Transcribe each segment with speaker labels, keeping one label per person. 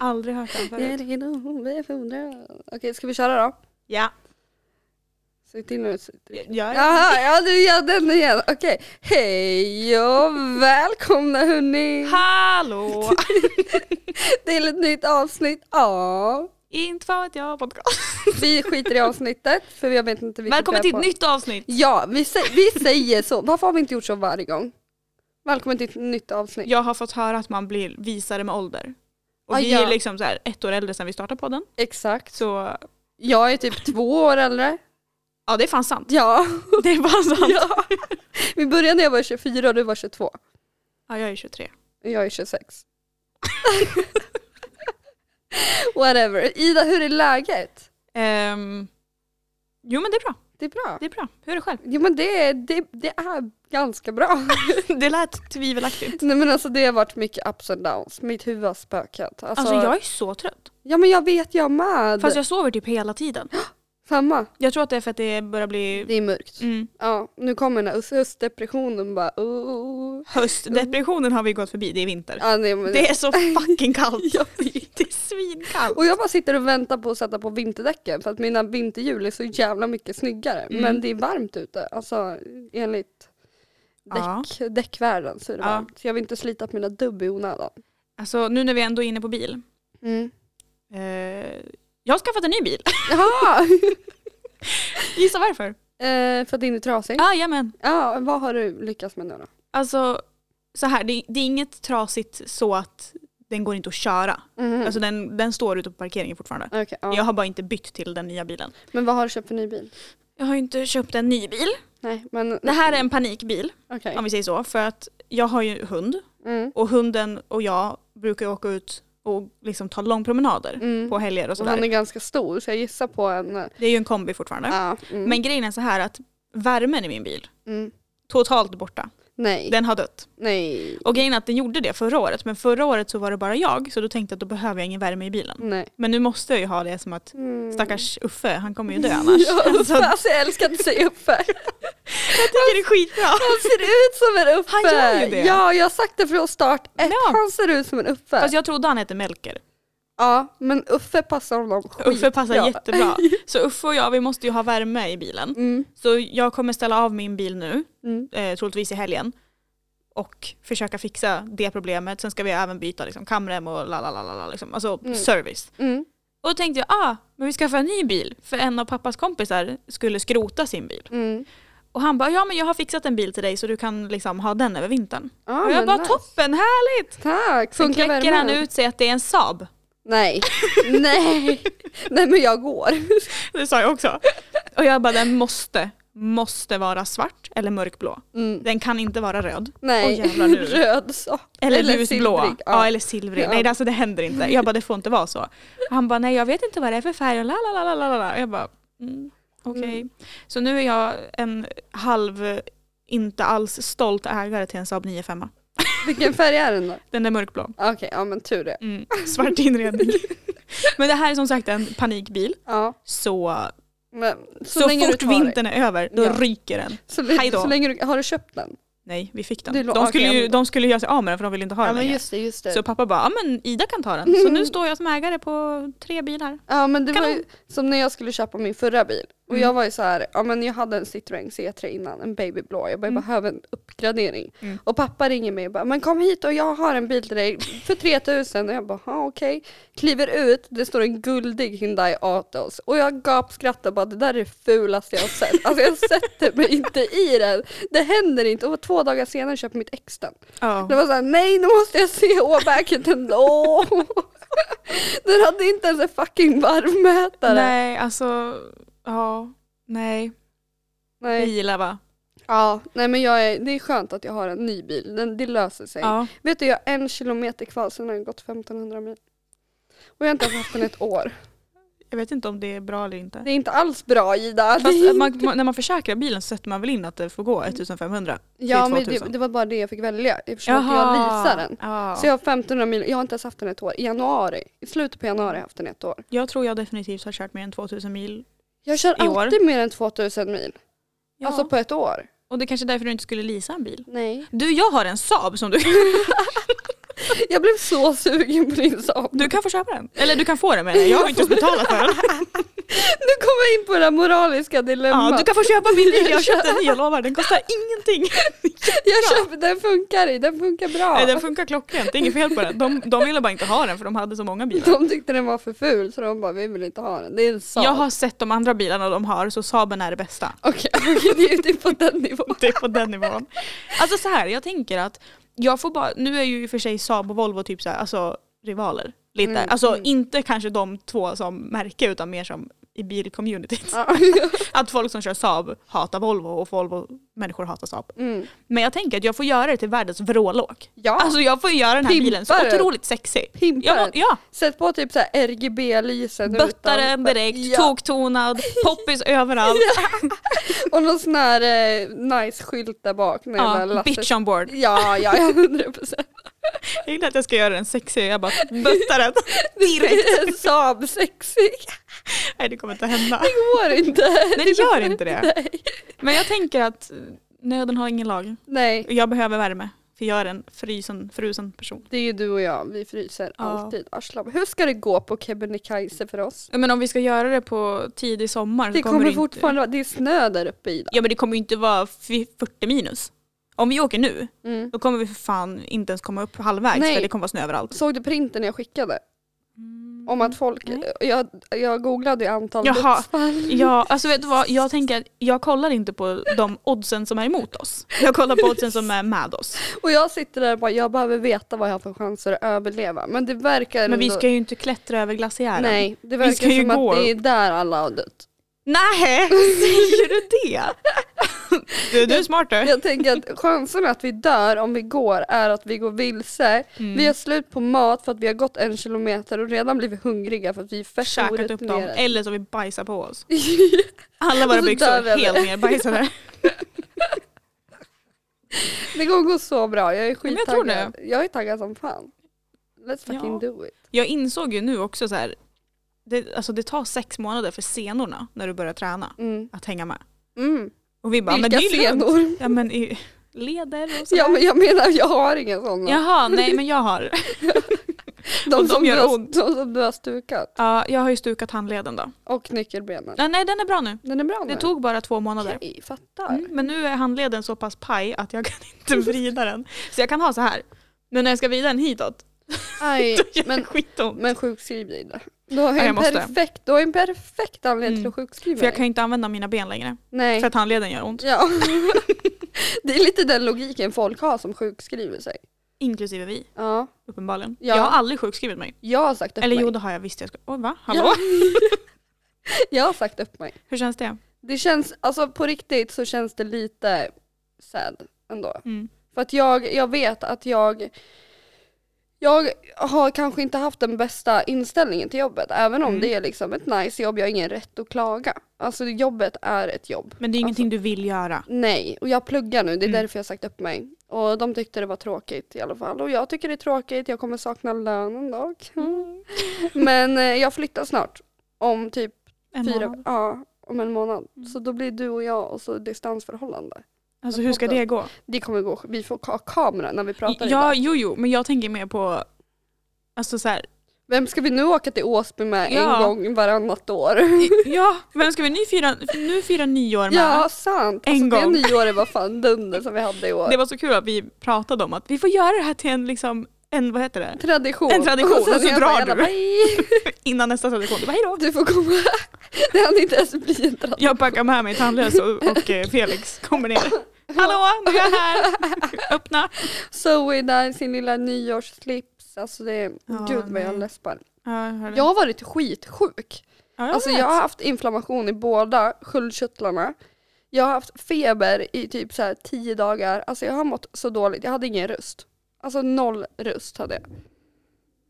Speaker 1: Aldrig hört den
Speaker 2: Jag är
Speaker 1: förut.
Speaker 2: redo, vi är hundra. Okej, ska vi köra då?
Speaker 1: Ja.
Speaker 2: Säg till nu.
Speaker 1: Gör det.
Speaker 2: Jaha, ja du gör den igen. Okej. Hej och välkomna hörni.
Speaker 1: Hallå!
Speaker 2: till ett nytt avsnitt av...
Speaker 1: Inte vad vet jag podcast.
Speaker 2: Vi skiter i avsnittet för jag vet inte vilket
Speaker 1: Välkommen
Speaker 2: vi
Speaker 1: till
Speaker 2: är
Speaker 1: ett
Speaker 2: på.
Speaker 1: nytt avsnitt.
Speaker 2: Ja, vi, sä- vi säger så. Varför har vi inte gjort så varje gång? Välkommen till ett nytt avsnitt.
Speaker 1: Jag har fått höra att man blir visare med ålder. Och
Speaker 2: Ah,
Speaker 1: vi
Speaker 2: ja.
Speaker 1: är liksom så här ett år äldre sedan vi startade podden.
Speaker 2: Exakt.
Speaker 1: Så
Speaker 2: Jag är typ två år äldre.
Speaker 1: ja, det är fan sant.
Speaker 2: Ja,
Speaker 1: Det är fan sant. Ja.
Speaker 2: vi började när jag var 24 och du var 22.
Speaker 1: jag är 23.
Speaker 2: Och jag är 26. Whatever. Ida, hur är läget?
Speaker 1: Ehm, jo men det är bra.
Speaker 2: Det är bra.
Speaker 1: Det är bra. Hur är det själv?
Speaker 2: Jo men det, det, det är ganska bra.
Speaker 1: Det lät tvivelaktigt.
Speaker 2: Nej men alltså det har varit mycket ups and downs. Mitt huvud har spökat. Alltså,
Speaker 1: Alltså jag är så trött.
Speaker 2: Ja men jag vet jag med.
Speaker 1: Fast jag sover typ hela tiden.
Speaker 2: Samma.
Speaker 1: Jag tror att det är för att det börjar bli
Speaker 2: Det är mörkt.
Speaker 1: mm,
Speaker 2: Ja, nu kommer den här höst- höstdepressionen bara oh.
Speaker 1: höstdepressionen har vi gått förbi, det är vinter.
Speaker 2: ja, nej, men,
Speaker 1: Det är så fucking kallt.
Speaker 2: Jag
Speaker 1: Det är svinkallt.
Speaker 2: Och jag bara sitter och väntar på att sätta på vinterdäcken för att mina vinterhjul är så jävla mycket snyggare.
Speaker 1: Mm.
Speaker 2: Men det är varmt ute, alltså enligt
Speaker 1: Ja.
Speaker 2: däck, däckvärlden så är det
Speaker 1: Ja.
Speaker 2: varmt. Så jag vill inte slita på mina dubb i onödan.
Speaker 1: Alltså nu när vi ändå är inne på bil. Eh, jag har skaffat en ny bil.
Speaker 2: Jaha!
Speaker 1: Gissa varför?
Speaker 2: eh, för att din är trasig.
Speaker 1: Jajamän.
Speaker 2: Ja, vad har du lyckats med nu då?
Speaker 1: Alltså så här, det, det är inget trasigt så att den går inte att köra.
Speaker 2: Mhm.
Speaker 1: Alltså den, den står ute på parkeringen fortfarande.
Speaker 2: Okej, ja.
Speaker 1: Jag har bara inte bytt till den nya bilen.
Speaker 2: Men vad har du köpt för ny bil?
Speaker 1: Jag har ju inte köpt en ny bil.
Speaker 2: Nej men
Speaker 1: Det här är en panikbil
Speaker 2: okej.
Speaker 1: om vi säger så. För att jag har ju hund
Speaker 2: Mm.
Speaker 1: och hunden och jag brukar ju åka ut och liksom ta långpromenader
Speaker 2: Mm.
Speaker 1: på helger och
Speaker 2: Och han är
Speaker 1: sådär.
Speaker 2: ganska stor så jag gissar på en... eh,
Speaker 1: Det är ju en kombi fortfarande.
Speaker 2: Ja. Mm.
Speaker 1: Men grejen är så här att värmen i min bil,
Speaker 2: Mm.
Speaker 1: totalt borta.
Speaker 2: Nej,
Speaker 1: Den har dött.
Speaker 2: nej,
Speaker 1: Och grejen är att den gjorde det förra året, men förra året så var det bara jag, så då tänkte jag att då behöver jag ingen värme i bilen.
Speaker 2: nej.
Speaker 1: Men nu måste jag ju ha det som att
Speaker 2: Mm.
Speaker 1: stackars Uffe, han kommer ju dö annars.
Speaker 2: Ja,
Speaker 1: Alltså,
Speaker 2: Uffe, alltså, jag älskar att säga Uffe.
Speaker 1: jag tycker det är skitbra.
Speaker 2: Han ser ut som en Uffe!
Speaker 1: Han gör ju det.
Speaker 2: Ja, jag har sagt det från start ett.
Speaker 1: Ja.
Speaker 2: Han ser ut som en Uffe.
Speaker 1: Fast jag trodde han hette Melker.
Speaker 2: Ja, men Uffe passar honom skitbra.
Speaker 1: Uffe passar jättebra. Så Uffe och jag, vi måste ju ha värme i bilen.
Speaker 2: Mm.
Speaker 1: Så jag kommer ställa av min bil nu,
Speaker 2: Mm.
Speaker 1: eh, troligtvis i helgen. Och försöka fixa det problemet. Sen ska vi även byta liksom, kamrem och la la la la, la. liksom. Alltså
Speaker 2: Mm.
Speaker 1: service.
Speaker 2: Mm.
Speaker 1: Och då tänkte jag, ah, men vi skaffar en ny bil. För en av pappas kompisar skulle skrota sin bil.
Speaker 2: Mm.
Speaker 1: Och han bara, ja men jag har fixat en bil till dig så du kan liksom ha den över vintern.
Speaker 2: Ja,
Speaker 1: och jag
Speaker 2: Ah, men
Speaker 1: bara,
Speaker 2: nice.
Speaker 1: toppen, härligt!
Speaker 2: Tack!
Speaker 1: Sen
Speaker 2: Funkar
Speaker 1: kläcker
Speaker 2: värmen?
Speaker 1: han ut sig att det är en Saab.
Speaker 2: Nej, nej, nej men jag går.
Speaker 1: Det sa jag också. Och jag bara, den måste, måste vara svart eller mörkblå.
Speaker 2: Mm.
Speaker 1: Den kan inte vara röd.
Speaker 2: Nej,
Speaker 1: Åh, jävlar nu.
Speaker 2: röd så.
Speaker 1: Eller, ljusblå.
Speaker 2: silvrig,
Speaker 1: ja. eller silvrig.
Speaker 2: Ja.
Speaker 1: Nej det- alltså det händer inte. Jag bara det får inte vara så. Han bara nej jag vet inte vad det är för färg och la la la la la la. Jag bara mm, okej. Så nu är jag en halv, inte alls stolt ägare till en Saab 95.
Speaker 2: Vilken färg är den då?
Speaker 1: Den där mörkblå.
Speaker 2: Okej, ja men tur det.
Speaker 1: Mm, svart inredning. Men det här är som sagt en panikbil.
Speaker 2: Ja,
Speaker 1: Så,
Speaker 2: men
Speaker 1: så,
Speaker 2: så, länge du
Speaker 1: fort
Speaker 2: tar dig.
Speaker 1: vintern är över då
Speaker 2: Ja.
Speaker 1: ryker den.
Speaker 2: Så,
Speaker 1: Hej då.
Speaker 2: så länge du, har du köpt den?
Speaker 1: Nej vi fick
Speaker 2: Det
Speaker 1: den.
Speaker 2: lå-
Speaker 1: De skulle,
Speaker 2: okej,
Speaker 1: ju,
Speaker 2: men-
Speaker 1: de skulle göra sig av med den för de ville inte ha
Speaker 2: Ja
Speaker 1: den
Speaker 2: men
Speaker 1: längre.
Speaker 2: just det, just det.
Speaker 1: Så pappa bara, ja men Ida kan ta den. Så nu står jag som ägare på tre bilar.
Speaker 2: Ja men det
Speaker 1: Kan
Speaker 2: var
Speaker 1: du-
Speaker 2: ju som när jag skulle köpa min förra bil och
Speaker 1: Mm.
Speaker 2: jag var ju så här, ja men jag hade en Citroën C3 innan, en babyblå, jag bara,
Speaker 1: Mm.
Speaker 2: jag behöver en uppgradering.
Speaker 1: Mm.
Speaker 2: Och pappa ringer mig och bara, men kom hit och jag har en bil till dig för 3000 och jag bara, "Ja, okej. Kliver ut, det står en guldig Hyundai Atos och jag gapskrattar bara, det där är det fulaste jag har sett. Alltså jag sätter mig inte i den, det händer inte. Och två dagar senare köper jag mitt ex den.
Speaker 1: Ja.
Speaker 2: Det var såhär, nej nu måste jag se åbäket ändå. Den hade inte ens en fucking varmmätare.
Speaker 1: Nej, alltså, ja, nej.
Speaker 2: Nej.
Speaker 1: Bilar va?
Speaker 2: Ja, nej men jag är, det är skönt att jag har en ny bil, Den, det löser sig.
Speaker 1: Ja.
Speaker 2: Vet du, jag har en kilometer kvar sen har jag gått 1500 mil. Och jag har inte ens haft den ett år.
Speaker 1: Jag vet inte om det är bra eller inte.
Speaker 2: Det är inte alls bra Ida. Det är-
Speaker 1: Fast man, man, när man försäkrar bilen så sätter man väl in att det får gå 1500?
Speaker 2: ja men det,
Speaker 1: 2000.
Speaker 2: det var bara det jag fick välja eftersom att jag leasar den.
Speaker 1: Ja.
Speaker 2: Så jag har 1500 mil, jag har inte ens haft den ett år. I januari, i slutet på januari har jag haft den ett år.
Speaker 1: Jag tror jag definitivt har kört mer än 2000 mil.
Speaker 2: Jag kör
Speaker 1: I år?
Speaker 2: alltid mer än 2000 mil.
Speaker 1: Ja.
Speaker 2: Alltså på ett år.
Speaker 1: Och det är kanske är därför du inte skulle leasa en bil.
Speaker 2: Nej.
Speaker 1: Du, jag har en Saab som du...
Speaker 2: Jag blev så sugen på din Saab.
Speaker 1: Du kan få köpa den. Eller du kan få den menar jag. Jag har ju inte ens betalat för den.
Speaker 2: Nu kommer jag in på det här moraliska dilemmat.
Speaker 1: Ja, du kan få köpa min bil. Jag har köpt den ny, jag lovar. Den kostar ingenting.
Speaker 2: jag köper, den funkar i, den funkar bra.
Speaker 1: Nej, den funkar klockrent. Det är inget fel på den. De, de ville bara inte ha den för de hade så många bilar.
Speaker 2: De tyckte den var för ful så de bara, vi vill inte ha den. Det är en Saab.
Speaker 1: Jag har sett de andra bilarna de har så Saaben är det bästa.
Speaker 2: Okej, okej, det är ju typ på den nivån.
Speaker 1: Det är på den nivån. Alltså så här, jag tänker att jag får bara, nu är ju i och för sig Saab och Volvo typ så här, alltså rivaler. Lite.
Speaker 2: Mm,
Speaker 1: alltså
Speaker 2: mm.
Speaker 1: inte kanske de två som märke utan mer som i bilcommunityt.
Speaker 2: Ja.
Speaker 1: Att folk som kör Saab hatar Volvo och Volvo-människor hatar Saab.
Speaker 2: Mm.
Speaker 1: Men jag tänker att jag får göra det till världens vrålåk.
Speaker 2: Ja,
Speaker 1: Alltså jag får göra den här
Speaker 2: Pimpa
Speaker 1: bilen så
Speaker 2: den.
Speaker 1: otroligt sexig.
Speaker 2: pimpa
Speaker 1: Jag,
Speaker 2: den.
Speaker 1: ja,
Speaker 2: Sätt på typ så här RGB-lysen
Speaker 1: bötta den direkt,
Speaker 2: Ja.
Speaker 1: toktonad, poppis överallt.
Speaker 2: Och någon sån här eh, nice skylt där bak. När
Speaker 1: Ja,
Speaker 2: den där Lasse-
Speaker 1: bitch on board.
Speaker 2: Ja, ja, ja, 100 procent.
Speaker 1: Jag gillar att jag ska göra den sexig jag bara böttar den direkt.
Speaker 2: Saab sexig.
Speaker 1: Nej det kommer inte hända.
Speaker 2: Det går inte.
Speaker 1: Nej det gör inte det.
Speaker 2: Nej.
Speaker 1: Men jag tänker att eh, nöden har ingen lag.
Speaker 2: Nej,
Speaker 1: Jag behöver värme. För jag är en frysen, frusen person.
Speaker 2: det är ju du och jag. Vi fryser
Speaker 1: Ja.
Speaker 2: alltid. Arslan. Hur ska det gå på Kebnekaise för oss?
Speaker 1: Men om vi ska göra det på tidig sommar så
Speaker 2: Det
Speaker 1: Alltså, kommer
Speaker 2: kommer
Speaker 1: det
Speaker 2: fortfarande vara, det är snö där uppe Ida.
Speaker 1: Inte, ja men det kommer ju inte vara fy- 40 minus. Om vi åker nu
Speaker 2: Mm.
Speaker 1: då kommer vi för fan inte ens komma upp halvvägs
Speaker 2: Nej.
Speaker 1: för det kommer vara snö överallt.
Speaker 2: Såg du printen jag skickade? Om att folk,
Speaker 1: Mm. Nej.
Speaker 2: jag, jag googlade ju antal
Speaker 1: Jaha.
Speaker 2: dödsfall.
Speaker 1: Ja, alltså vet du vad? Jag tänker att jag kollar inte på de oddsen som är emot oss. Jag kollar på oddsen som är med oss.
Speaker 2: Och jag sitter där och bara, jag behöver veta vad jag har för chanser att överleva. Men det verkar
Speaker 1: Men vi
Speaker 2: ändå-
Speaker 1: ska ju inte klättra över glaciären.
Speaker 2: Nej, det
Speaker 1: ska ju
Speaker 2: verkar som
Speaker 1: gå.
Speaker 2: att det är där alla har dött.
Speaker 1: Nej, säger du det? Du, du är smart du.
Speaker 2: Jag tänker att chansen att vi dör om vi går är att vi går vilse.
Speaker 1: Mm.
Speaker 2: Vi har slut på mat för att vi har gått en kilometer och redan blivit hungriga för att vi är färska och
Speaker 1: käkat upp dem Eh.
Speaker 2: orutinerade.
Speaker 1: eller så har vi bajsat på oss. Alla våra
Speaker 2: Och så dör vi
Speaker 1: byxor
Speaker 2: av det.
Speaker 1: helt nerbajsade.
Speaker 2: Det kommer gå så bra, jag är
Speaker 1: men jag tror
Speaker 2: skittaggad. jag är taggad som fan. Let's fucking
Speaker 1: Ja.
Speaker 2: do it.
Speaker 1: Jag insåg ju nu också så här, det, alltså det tar sex månader för senorna när du börjar träna
Speaker 2: Mm.
Speaker 1: att hänga med.
Speaker 2: Mm.
Speaker 1: Och vi bara, men det
Speaker 2: Vilka
Speaker 1: är ju lugnt.
Speaker 2: scenor?
Speaker 1: Ja men i leder och
Speaker 2: Ja,
Speaker 1: sådär.
Speaker 2: men jag menar jag har inga sådana.
Speaker 1: Jaha, nej men jag har.
Speaker 2: de,
Speaker 1: och de
Speaker 2: som
Speaker 1: gör
Speaker 2: du har,
Speaker 1: ont.
Speaker 2: de som du har stukat.
Speaker 1: Ja, jag har ju stukat handleden då.
Speaker 2: Och nyckelbenen.
Speaker 1: Nej, nej den är bra nu.
Speaker 2: Den är bra nu.
Speaker 1: Det tog bara två månader.
Speaker 2: Okej, fattar.
Speaker 1: Mm, men nu är handleden så pass paj att jag kan inte vrida den. Så jag kan ha så här. Men när jag ska vrida den hitåt,
Speaker 2: Aj,
Speaker 1: då gör det
Speaker 2: men,
Speaker 1: skitont.
Speaker 2: men sjukskriv dig då. Du har ju
Speaker 1: Ja, jag
Speaker 2: en,
Speaker 1: måste.
Speaker 2: perfekt, du har ju en perfekt anledning till
Speaker 1: Mm.
Speaker 2: att sjukskriva
Speaker 1: För jag
Speaker 2: dig.
Speaker 1: kan ju inte använda mina ben längre.
Speaker 2: Nej.
Speaker 1: För att handleden gör ont.
Speaker 2: Ja. det är lite den logiken folk har som sjukskriver sig.
Speaker 1: Inklusive vi,
Speaker 2: Ja.
Speaker 1: uppenbarligen.
Speaker 2: Ja.
Speaker 1: Jag har aldrig sjukskrivit mig.
Speaker 2: Jag har sagt upp
Speaker 1: Eller
Speaker 2: mig.
Speaker 1: jo, det har jag visst. Jag ska... Åh va? Hallå?
Speaker 2: Ja. jag har sagt upp mig.
Speaker 1: Hur känns det?
Speaker 2: Det känns, alltså på riktigt så känns det lite sad ändå.
Speaker 1: Mm.
Speaker 2: För att jag, jag vet att jag jag har kanske inte haft den bästa inställningen till jobbet, även om
Speaker 1: Mm.
Speaker 2: det är liksom ett nice jobb, jag har ingen rätt att klaga. Alltså jobbet är ett jobb.
Speaker 1: Men det är ingenting
Speaker 2: Alltså.
Speaker 1: du vill göra.
Speaker 2: Nej, och jag pluggar nu, det är
Speaker 1: Mm.
Speaker 2: därför jag sagt upp mig. Och de tyckte det var tråkigt i alla fall. Och jag tycker det är tråkigt, jag kommer sakna lönen dock. Men eh, jag flyttar snart. Om typ
Speaker 1: En
Speaker 2: fyra,
Speaker 1: månad. Mm.
Speaker 2: ja, om en månad. Så då blir du och jag och så distansförhållande.
Speaker 1: Alltså hur ska det gå?
Speaker 2: Det kommer gå, vi får ha kamera när vi pratar
Speaker 1: Ja,
Speaker 2: idag.
Speaker 1: jo, jo, men jag tänker mer på Alltså så här,
Speaker 2: Vem ska vi nu åka till Åsby med
Speaker 1: Ja.
Speaker 2: en gång varannat år?
Speaker 1: ja, vem ska vi nu fira, nu fira nyår med?
Speaker 2: Ja, sant.
Speaker 1: En
Speaker 2: alltså,
Speaker 1: gång.
Speaker 2: Det nyåret var fan dunder som vi hade i år.
Speaker 1: Det var så kul att vi pratade om att vi får göra det här till en, liksom, en vad heter det?
Speaker 2: Tradition.
Speaker 1: En tradition,
Speaker 2: sen
Speaker 1: och så
Speaker 2: är jag
Speaker 1: drar
Speaker 2: bara, jag
Speaker 1: du.
Speaker 2: bara, "Hej,
Speaker 1: Innan nästa tradition. Du bara hejdå!
Speaker 2: Du får komma. Det hann inte ens bli en tradition.
Speaker 1: Jag packar med mig tandlös och, och eh, Felix kommer ner. Hallå, nu är jag här! Öppna!
Speaker 2: Zoe där, sin lilla nyårsslips. Alltså det är,
Speaker 1: Ja,
Speaker 2: gud vad jag
Speaker 1: nej.
Speaker 2: läspar.
Speaker 1: Ja, jag hör det.
Speaker 2: Jag har varit skitsjuk.
Speaker 1: Ja, jag
Speaker 2: Alltså
Speaker 1: vet.
Speaker 2: jag har haft inflammation i båda sköldkörtlarna. Jag har haft feber i typ så här tio dagar. Alltså jag har mått så dåligt. Jag hade ingen röst. Alltså noll röst hade jag.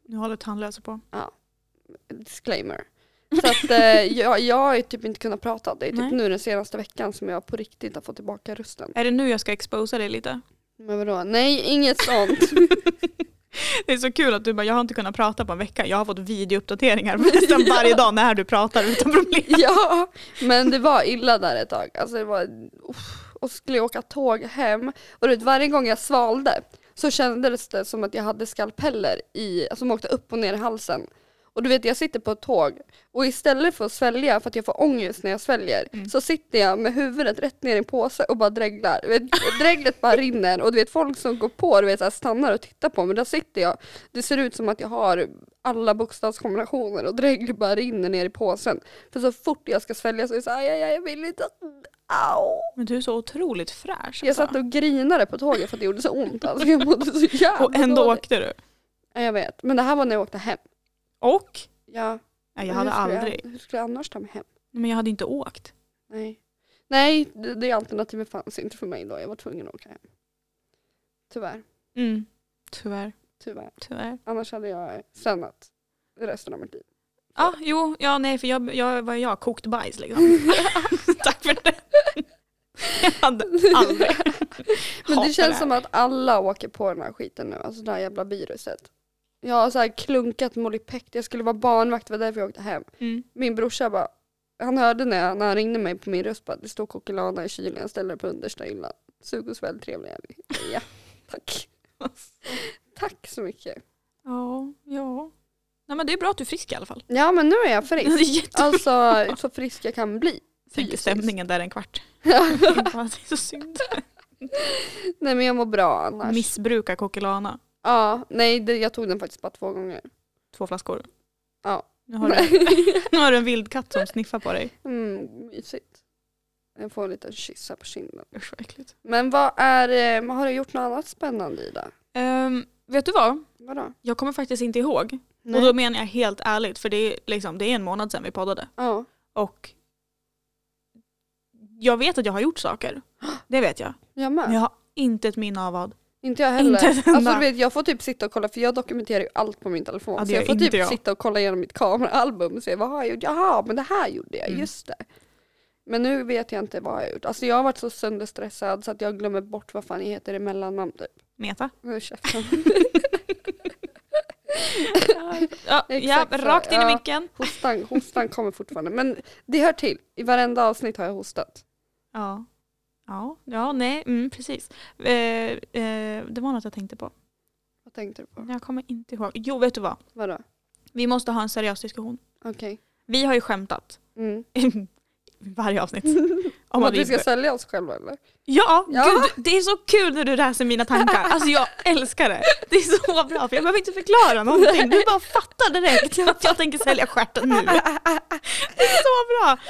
Speaker 1: Nu håller tandlösa på.
Speaker 2: Disclaimer. Så att eh, jag, jag har ju typ inte kunnat prata. Det är typ
Speaker 1: Nej.
Speaker 2: nu den senaste veckan som jag på riktigt har fått tillbaka rösten.
Speaker 1: Är det nu jag ska exposa dig lite?
Speaker 2: Men vadå? Nej, inget sånt.
Speaker 1: Det är så kul att du bara, jag har inte kunnat prata på en vecka. Jag har fått videouppdateringar nästan varje dag när du pratar utan problem.
Speaker 2: Ja, men det var illa där ett tag. Alltså det var, uff, och så skulle jag åka tåg hem och du vet, varje gång jag svalde så kändes det som att jag hade skalpeller i, alltså, som åkte upp och ner i halsen. Och du vet jag sitter på ett tåg och istället för att svälja för att jag får ångest när jag sväljer
Speaker 1: Mm.
Speaker 2: så sitter jag med huvudet rätt ner i en påse och bara dreglar. Du Vet, dreglet bara rinner och du vet folk som går på du vet, så här, stannar och tittar på mig. Där sitter jag. Det ser ut som att jag har alla bokstavskombinationer och dreglet bara rinner ner i påsen. För så fort jag ska svälja så är det så här, aj, aj, aj, jag vill inte. Au.
Speaker 1: Men du är så otroligt fräsch.
Speaker 2: Jag
Speaker 1: alltså.
Speaker 2: satt och grinade på tåget för att det gjorde så ont. Alltså, jag mådde så jävla
Speaker 1: och ändå
Speaker 2: dåligt.
Speaker 1: åkte du.
Speaker 2: Ja, jag vet, men det här var när jag åkte hem.
Speaker 1: Och?
Speaker 2: Ja,
Speaker 1: Nej, jag
Speaker 2: men
Speaker 1: hade
Speaker 2: hur skulle
Speaker 1: aldrig.
Speaker 2: Jag, hur skulle jag annars ta mig hem?
Speaker 1: Nej, Men jag hade inte åkt.
Speaker 2: Nej, Nej det, det alternativet fanns inte för mig då. Jag var tvungen att åka hem. Tyvärr,
Speaker 1: Mm. Tyvärr,
Speaker 2: tyvärr.
Speaker 1: tyvärr.
Speaker 2: Annars hade jag stannat resten av mitt liv.
Speaker 1: Ja, ah, jo, ja, nej för jag, jag var jag, kokt bajs
Speaker 2: Mm.
Speaker 1: liksom. Tack för det. Jag hade aldrig.
Speaker 2: Men
Speaker 1: Hatar
Speaker 2: det känns
Speaker 1: här.
Speaker 2: som att alla åker på den här skiten nu, alltså det här jävla viruset. Jag har så här klunkat Molipect, jag skulle vara barnvakt, det var därför jag åkte hem.
Speaker 1: Mm.
Speaker 2: Min brorsa bara, han hörde när, jag, när han ringde mig på min röst bara, det står kokilana i kylen, jag ställer det på understa hyllan. Sug och svälj, trevlig helg. Ja, tack. Tack så mycket.
Speaker 1: Ja, ja. Nej men det är bra att du är frisk i alla fall.
Speaker 2: Ja men nu är jag
Speaker 1: Det är
Speaker 2: frisk.
Speaker 1: jätte-
Speaker 2: Alltså så frisk jag kan bli.
Speaker 1: Tänk
Speaker 2: fysiskt.
Speaker 1: stämningen där en kvart. Bara, det är så synd.
Speaker 2: Nej men jag mår bra annars.
Speaker 1: Missbruka kokilana.
Speaker 2: ja, nej det, jag tog den faktiskt bara två gånger.
Speaker 1: Två flaskor.
Speaker 2: Ja.
Speaker 1: Nu har, du, nu har du en vildkatt som sniffar på dig.
Speaker 2: Mm, mysigt. Jag får en liten kyss här på kinden.
Speaker 1: Usch vad äckligt.
Speaker 2: Men vad är, eh, har du gjort något annat spännande Ida?
Speaker 1: Ehm, vet du vad?
Speaker 2: Vadå?
Speaker 1: Jag kommer faktiskt inte ihåg.
Speaker 2: Nej.
Speaker 1: Och då menar jag helt ärligt för det är, liksom, det är en månad sedan vi poddade.
Speaker 2: ja.
Speaker 1: Och jag vet att jag har gjort saker. Det vet jag.
Speaker 2: Jag med.
Speaker 1: Men jag har inte ett minne av vad.
Speaker 2: Inte jag
Speaker 1: Inte
Speaker 2: heller.
Speaker 1: ett
Speaker 2: alltså,
Speaker 1: enda.
Speaker 2: du vet, jag får typ sitta och kolla för jag dokumenterar ju allt på min telefon.
Speaker 1: Ja, det
Speaker 2: så
Speaker 1: gör
Speaker 2: jag får
Speaker 1: inte
Speaker 2: typ
Speaker 1: jag.
Speaker 2: sitta och kolla igenom mitt kameraalbum och se vad har jag gjort? Jaha, men det här gjorde jag,
Speaker 1: Mm.
Speaker 2: just det. Men nu vet jag inte vad jag har gjort. Alltså jag har varit så sönderstressad så att jag glömmer bort vad fan jag heter i mellannamn typ.
Speaker 1: Meta.
Speaker 2: Nu är käften.
Speaker 1: Ja, ja
Speaker 2: Exakt så,
Speaker 1: rakt in i
Speaker 2: ja.
Speaker 1: micken.
Speaker 2: Hostan, hostan kommer fortfarande. Men det hör till. I varenda avsnitt har jag hostat.
Speaker 1: Ja. Ja, ja nej, mm, precis. Eh, eh, det var något jag tänkte på.
Speaker 2: Vad tänkte du på?
Speaker 1: Jag kommer inte ihåg. Jo, vet du vad?
Speaker 2: Vadå?
Speaker 1: Vi måste ha en seriös diskussion.
Speaker 2: Okej.
Speaker 1: Vi har ju skämtat
Speaker 2: Mm.
Speaker 1: varje avsnitt. Om
Speaker 2: Om
Speaker 1: att
Speaker 2: att
Speaker 1: vi
Speaker 2: vi ska
Speaker 1: inte...
Speaker 2: sälja oss själva eller?
Speaker 1: Ja,
Speaker 2: Ja.
Speaker 1: Gud, det är så kul när du läser mina tankar. Alltså jag älskar det. Det är så bra för jag behöver inte förklara någonting. Du bara fattar direkt att jag tänker sälja stjärten nu. Det är så bra.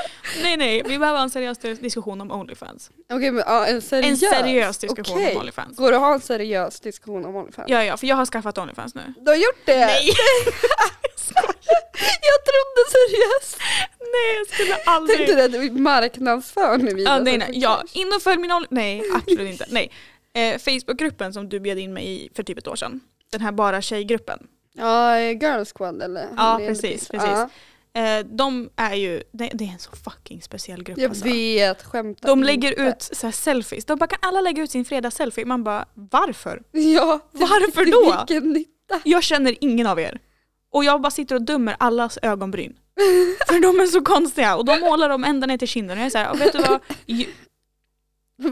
Speaker 1: Nej, nej, vi behöver ha en seriös diskussion om Onlyfans.
Speaker 2: Okej men ja, en seriös.
Speaker 1: En seriös diskussion
Speaker 2: Okej.
Speaker 1: om Onlyfans.
Speaker 2: Går det att ha en seriös diskussion om Onlyfans?
Speaker 1: Ja, ja, för jag har skaffat Onlyfans nu.
Speaker 2: Du har gjort det?
Speaker 1: Nej,
Speaker 2: Jag trodde seriöst.
Speaker 1: nej jag skulle
Speaker 2: Tänkte
Speaker 1: aldrig...
Speaker 2: du att vi marknadsför nu
Speaker 1: Ja,
Speaker 2: vidare?
Speaker 1: nej, nej. Ja, in och följ min Only... Nej, absolut inte. Nej. Eh, Facebookgruppen som du bjöd in mig i för typ ett år sedan. Den här bara tjejgruppen.
Speaker 2: Ja, eh, Girl Squad eller?
Speaker 1: Ja,
Speaker 2: Eller-
Speaker 1: precis, precis.
Speaker 2: Ja,
Speaker 1: Eh, de är ju, det, det är en så fucking speciell grupp
Speaker 2: jag
Speaker 1: alltså.
Speaker 2: vet, skämtar
Speaker 1: De lägger
Speaker 2: inte.
Speaker 1: ut så här selfies, de bara kan alla lägga ut sin fredagsselfie? Man bara varför?
Speaker 2: Ja,
Speaker 1: Varför
Speaker 2: till
Speaker 1: då?
Speaker 2: Vilken nytta.
Speaker 1: Jag känner ingen av er. Och jag bara sitter och dömer allas ögonbryn. För de är så konstiga och de målar dem ända ner till kinden och jag är såhär, vet du vad? You,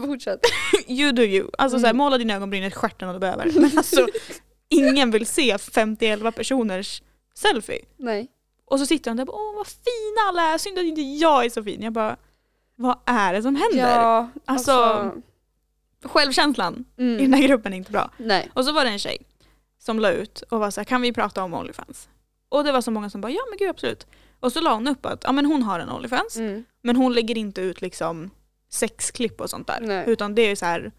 Speaker 2: Fortsätt.
Speaker 1: you do you. Alltså så här,
Speaker 2: Mm.
Speaker 1: måla dina ögonbryn i stjärten om du behöver. Men alltså, ingen vill se 50 personers selfie.
Speaker 2: Nej.
Speaker 1: Och så sitter de där och bara, åh vad fina alla är, synd att inte jag är så fin. Jag bara, vad är det som händer?
Speaker 2: Ja,
Speaker 1: Alltså, självkänslan i den
Speaker 2: mm.
Speaker 1: här gruppen är inte bra.
Speaker 2: Nej.
Speaker 1: Och så var det en tjej som la ut och var så här, kan vi prata om Onlyfans? Och det var så många som bara, ja men gud absolut. Och så la hon upp att, ja men hon har en Onlyfans,
Speaker 2: Mm.
Speaker 1: men hon lägger inte ut liksom sexklipp och sånt där.
Speaker 2: Nej.
Speaker 1: Utan det är så här,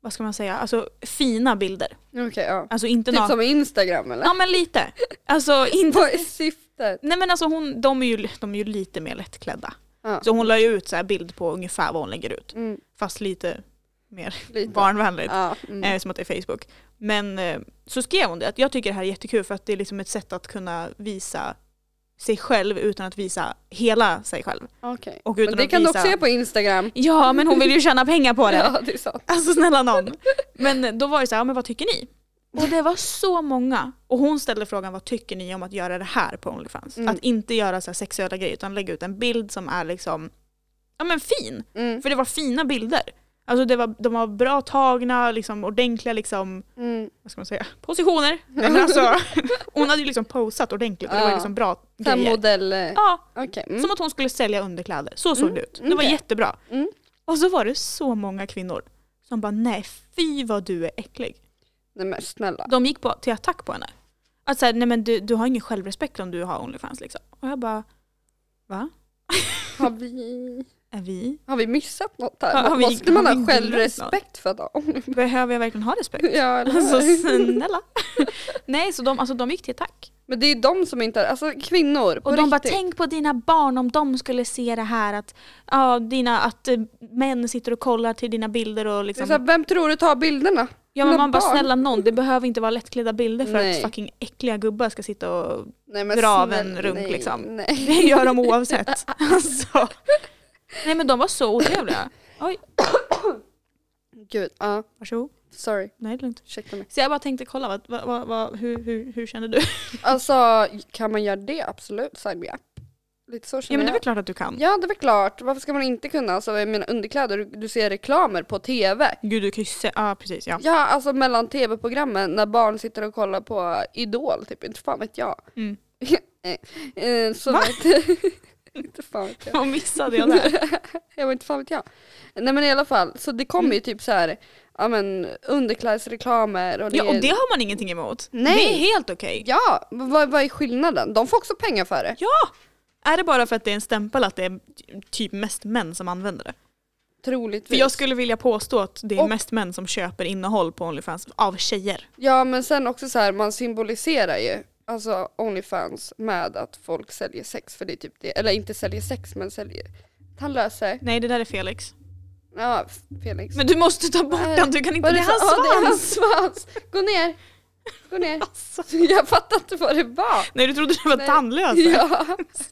Speaker 1: vad ska man säga, alltså fina bilder.
Speaker 2: Okej, ja.
Speaker 1: Alltså inte
Speaker 2: Typ
Speaker 1: naken.
Speaker 2: som Instagram eller?
Speaker 1: Ja men lite. Alltså inte
Speaker 2: Vad är syftet?
Speaker 1: Nej men alltså hon, de, är ju, de är ju lite mer lättklädda.
Speaker 2: Ja.
Speaker 1: Så hon la ju ut så här bild på ungefär vad hon lägger ut.
Speaker 2: Mm,
Speaker 1: Fast lite mer
Speaker 2: lite.
Speaker 1: barnvänligt.
Speaker 2: Ja, mm.
Speaker 1: Eh, som att det är Facebook. Men eh, så skrev hon det att jag tycker det här är jättekul för att det är liksom ett sätt att kunna visa sig själv utan att visa hela sig själv.
Speaker 2: Okej.
Speaker 1: Och utan
Speaker 2: Men det
Speaker 1: att
Speaker 2: kan du
Speaker 1: visa...
Speaker 2: också se på Instagram.
Speaker 1: Ja men hon vill ju tjäna pengar på det.
Speaker 2: Ja, det är sant.
Speaker 1: Alltså snälla någon. Men då var det så här, ja, men vad tycker ni? Och det var så många. Och hon ställde frågan, vad tycker ni om att göra det här på Onlyfans?
Speaker 2: Mm.
Speaker 1: Att inte göra så här sexuella grejer utan lägga ut en bild som är liksom, ja men fin.
Speaker 2: Mm.
Speaker 1: För det var fina bilder. Alltså det var, de var bra tagna, liksom, ordentliga liksom,
Speaker 2: Mm.
Speaker 1: vad ska man säga, positioner. Nej, Men alltså, hon hade ju liksom posat ordentligt och det var
Speaker 2: Ja.
Speaker 1: liksom bra
Speaker 2: Så här
Speaker 1: grejer.
Speaker 2: modell... eh,
Speaker 1: Ja,
Speaker 2: Okej. Mm.
Speaker 1: som att hon skulle sälja underkläder. Så såg
Speaker 2: Mm,
Speaker 1: det ut. Det var
Speaker 2: okej.
Speaker 1: jättebra.
Speaker 2: Mm.
Speaker 1: Och så var det så många kvinnor som bara nej fy vad du är äcklig.
Speaker 2: Nej men snälla.
Speaker 1: De gick på, till attack på henne. Att såhär, nej men du, du har ingen självrespekt om du har Onlyfans liksom. Och jag bara, va?
Speaker 2: Har vi,
Speaker 1: Är vi?
Speaker 2: har vi missat något här?
Speaker 1: Har- har vi-
Speaker 2: Måste man
Speaker 1: har
Speaker 2: ha
Speaker 1: vi
Speaker 2: självrespekt för att ha
Speaker 1: Behöver jag verkligen ha respekt?
Speaker 2: Ja, eller
Speaker 1: Alltså
Speaker 2: hur?
Speaker 1: snälla. Nej, så de, alltså, de gick till attack.
Speaker 2: Men det är ju de som inte har, alltså kvinnor på
Speaker 1: Och de bara,
Speaker 2: riktigt.
Speaker 1: tänk på dina barn om de skulle se det här att, ja, dina, att eh, män sitter och kollar till dina bilder och
Speaker 2: Det är
Speaker 1: liksom.
Speaker 2: så här, vem tror du tar bilderna?
Speaker 1: ja men
Speaker 2: mina
Speaker 1: man bara,
Speaker 2: barn.
Speaker 1: snälla någon, det behöver inte vara lättklädda bilder för
Speaker 2: Nej.
Speaker 1: att fucking äckliga gubbar ska sitta och,
Speaker 2: Nej, men
Speaker 1: Dra av
Speaker 2: snälla,
Speaker 1: en runk,
Speaker 2: nej,
Speaker 1: liksom.
Speaker 2: Nej.
Speaker 1: det gör de oavsett. Alltså. Nej men de var så otrevliga. Oj,
Speaker 2: Gud, ja.
Speaker 1: varsågod.
Speaker 2: sorry.
Speaker 1: Nej det är lugnt.
Speaker 2: Ursäkta mig.
Speaker 1: Så jag bara tänkte kolla, vad, vad, vad, vad, hur, hur, hur kände du?
Speaker 2: Alltså kan man göra det? Absolut, sign me up. Lite så
Speaker 1: Ja
Speaker 2: känner
Speaker 1: men det är väl
Speaker 2: jag.
Speaker 1: klart att du kan.
Speaker 2: Ja det är väl klart, varför ska man inte kunna? Alltså jag menar underkläder, du, du ser reklamer på TV.
Speaker 1: Gud du kan ju se, ja precis ja.
Speaker 2: Ja alltså mellan TV-programmen när barn sitter och kollar på Idol typ, inte fan vet jag.
Speaker 1: Mm.
Speaker 2: Eh, eh, så
Speaker 1: Va?
Speaker 2: vet, inte fan vet jag.
Speaker 1: Vad missade jag där?
Speaker 2: Jag vet inte fan vet jag. Nej men i alla fall, så det
Speaker 1: Mm.
Speaker 2: kommer ju typ så här, ja men underklädesreklamer och det,
Speaker 1: Ja och det har man ingenting emot.
Speaker 2: Nej.
Speaker 1: Det är helt okej.
Speaker 2: Ja, men vad, vad är skillnaden? De får också pengar för det.
Speaker 1: Ja! Är det bara för att det är en stämpel att det är typ mest män som använder det?
Speaker 2: Troligtvis.
Speaker 1: För jag skulle vilja påstå att det är
Speaker 2: Och-
Speaker 1: mest män som köper innehåll på Onlyfans av tjejer.
Speaker 2: Ja men sen också så här, man symboliserar ju alltså Onlyfans med att folk säljer sex för det är typ det, eller inte säljer sex men säljer tandlöse.
Speaker 1: Nej det där är Felix.
Speaker 2: Ja, Felix.
Speaker 1: Men du måste ta bort
Speaker 2: Nej.
Speaker 1: den, du kan inte,
Speaker 2: Vad
Speaker 1: det
Speaker 2: är
Speaker 1: är hans
Speaker 2: så- Ja, det är
Speaker 1: svans!
Speaker 2: hans svans! Gå ner! Gå ner!
Speaker 1: Alltså.
Speaker 2: Jag fattar inte vad det var.
Speaker 1: Nej du trodde det var
Speaker 2: Nej.
Speaker 1: tandlösa?
Speaker 2: Ja,
Speaker 1: Snälla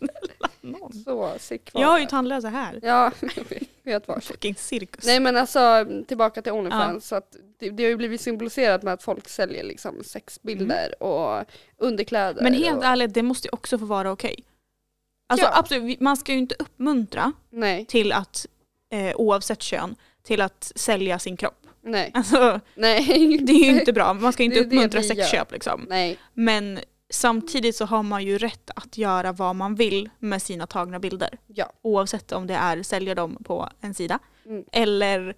Speaker 1: nån.
Speaker 2: Alltså. så sick var
Speaker 1: Jag har ju
Speaker 2: det.
Speaker 1: tandlösa här.
Speaker 2: Ja, jag vet- vet varsin.
Speaker 1: Fucking cirkus.
Speaker 2: Nej men alltså tillbaka till Onlyfans, så att det, det har ju blivit symboliserat med att folk säljer liksom sexbilder och underkläder.
Speaker 1: Mm. Men helt
Speaker 2: och,
Speaker 1: ärligt, det måste ju också få vara okej. Alltså
Speaker 2: Ja.
Speaker 1: absolut, vi- man ska ju inte uppmuntra
Speaker 2: Nej,
Speaker 1: till att, eh, oavsett kön, till att sälja sin kropp.
Speaker 2: nej,
Speaker 1: Alltså,
Speaker 2: nej.
Speaker 1: Det är ju inte bra, man ska inte
Speaker 2: Det är det
Speaker 1: uppmuntra
Speaker 2: vi gör.
Speaker 1: sexköp liksom.
Speaker 2: Nej,
Speaker 1: Men samtidigt så har man ju rätt att göra vad man vill med sina tagna bilder.
Speaker 2: ja.
Speaker 1: Oavsett om det är sälja dem på en sida
Speaker 2: Mm.
Speaker 1: eller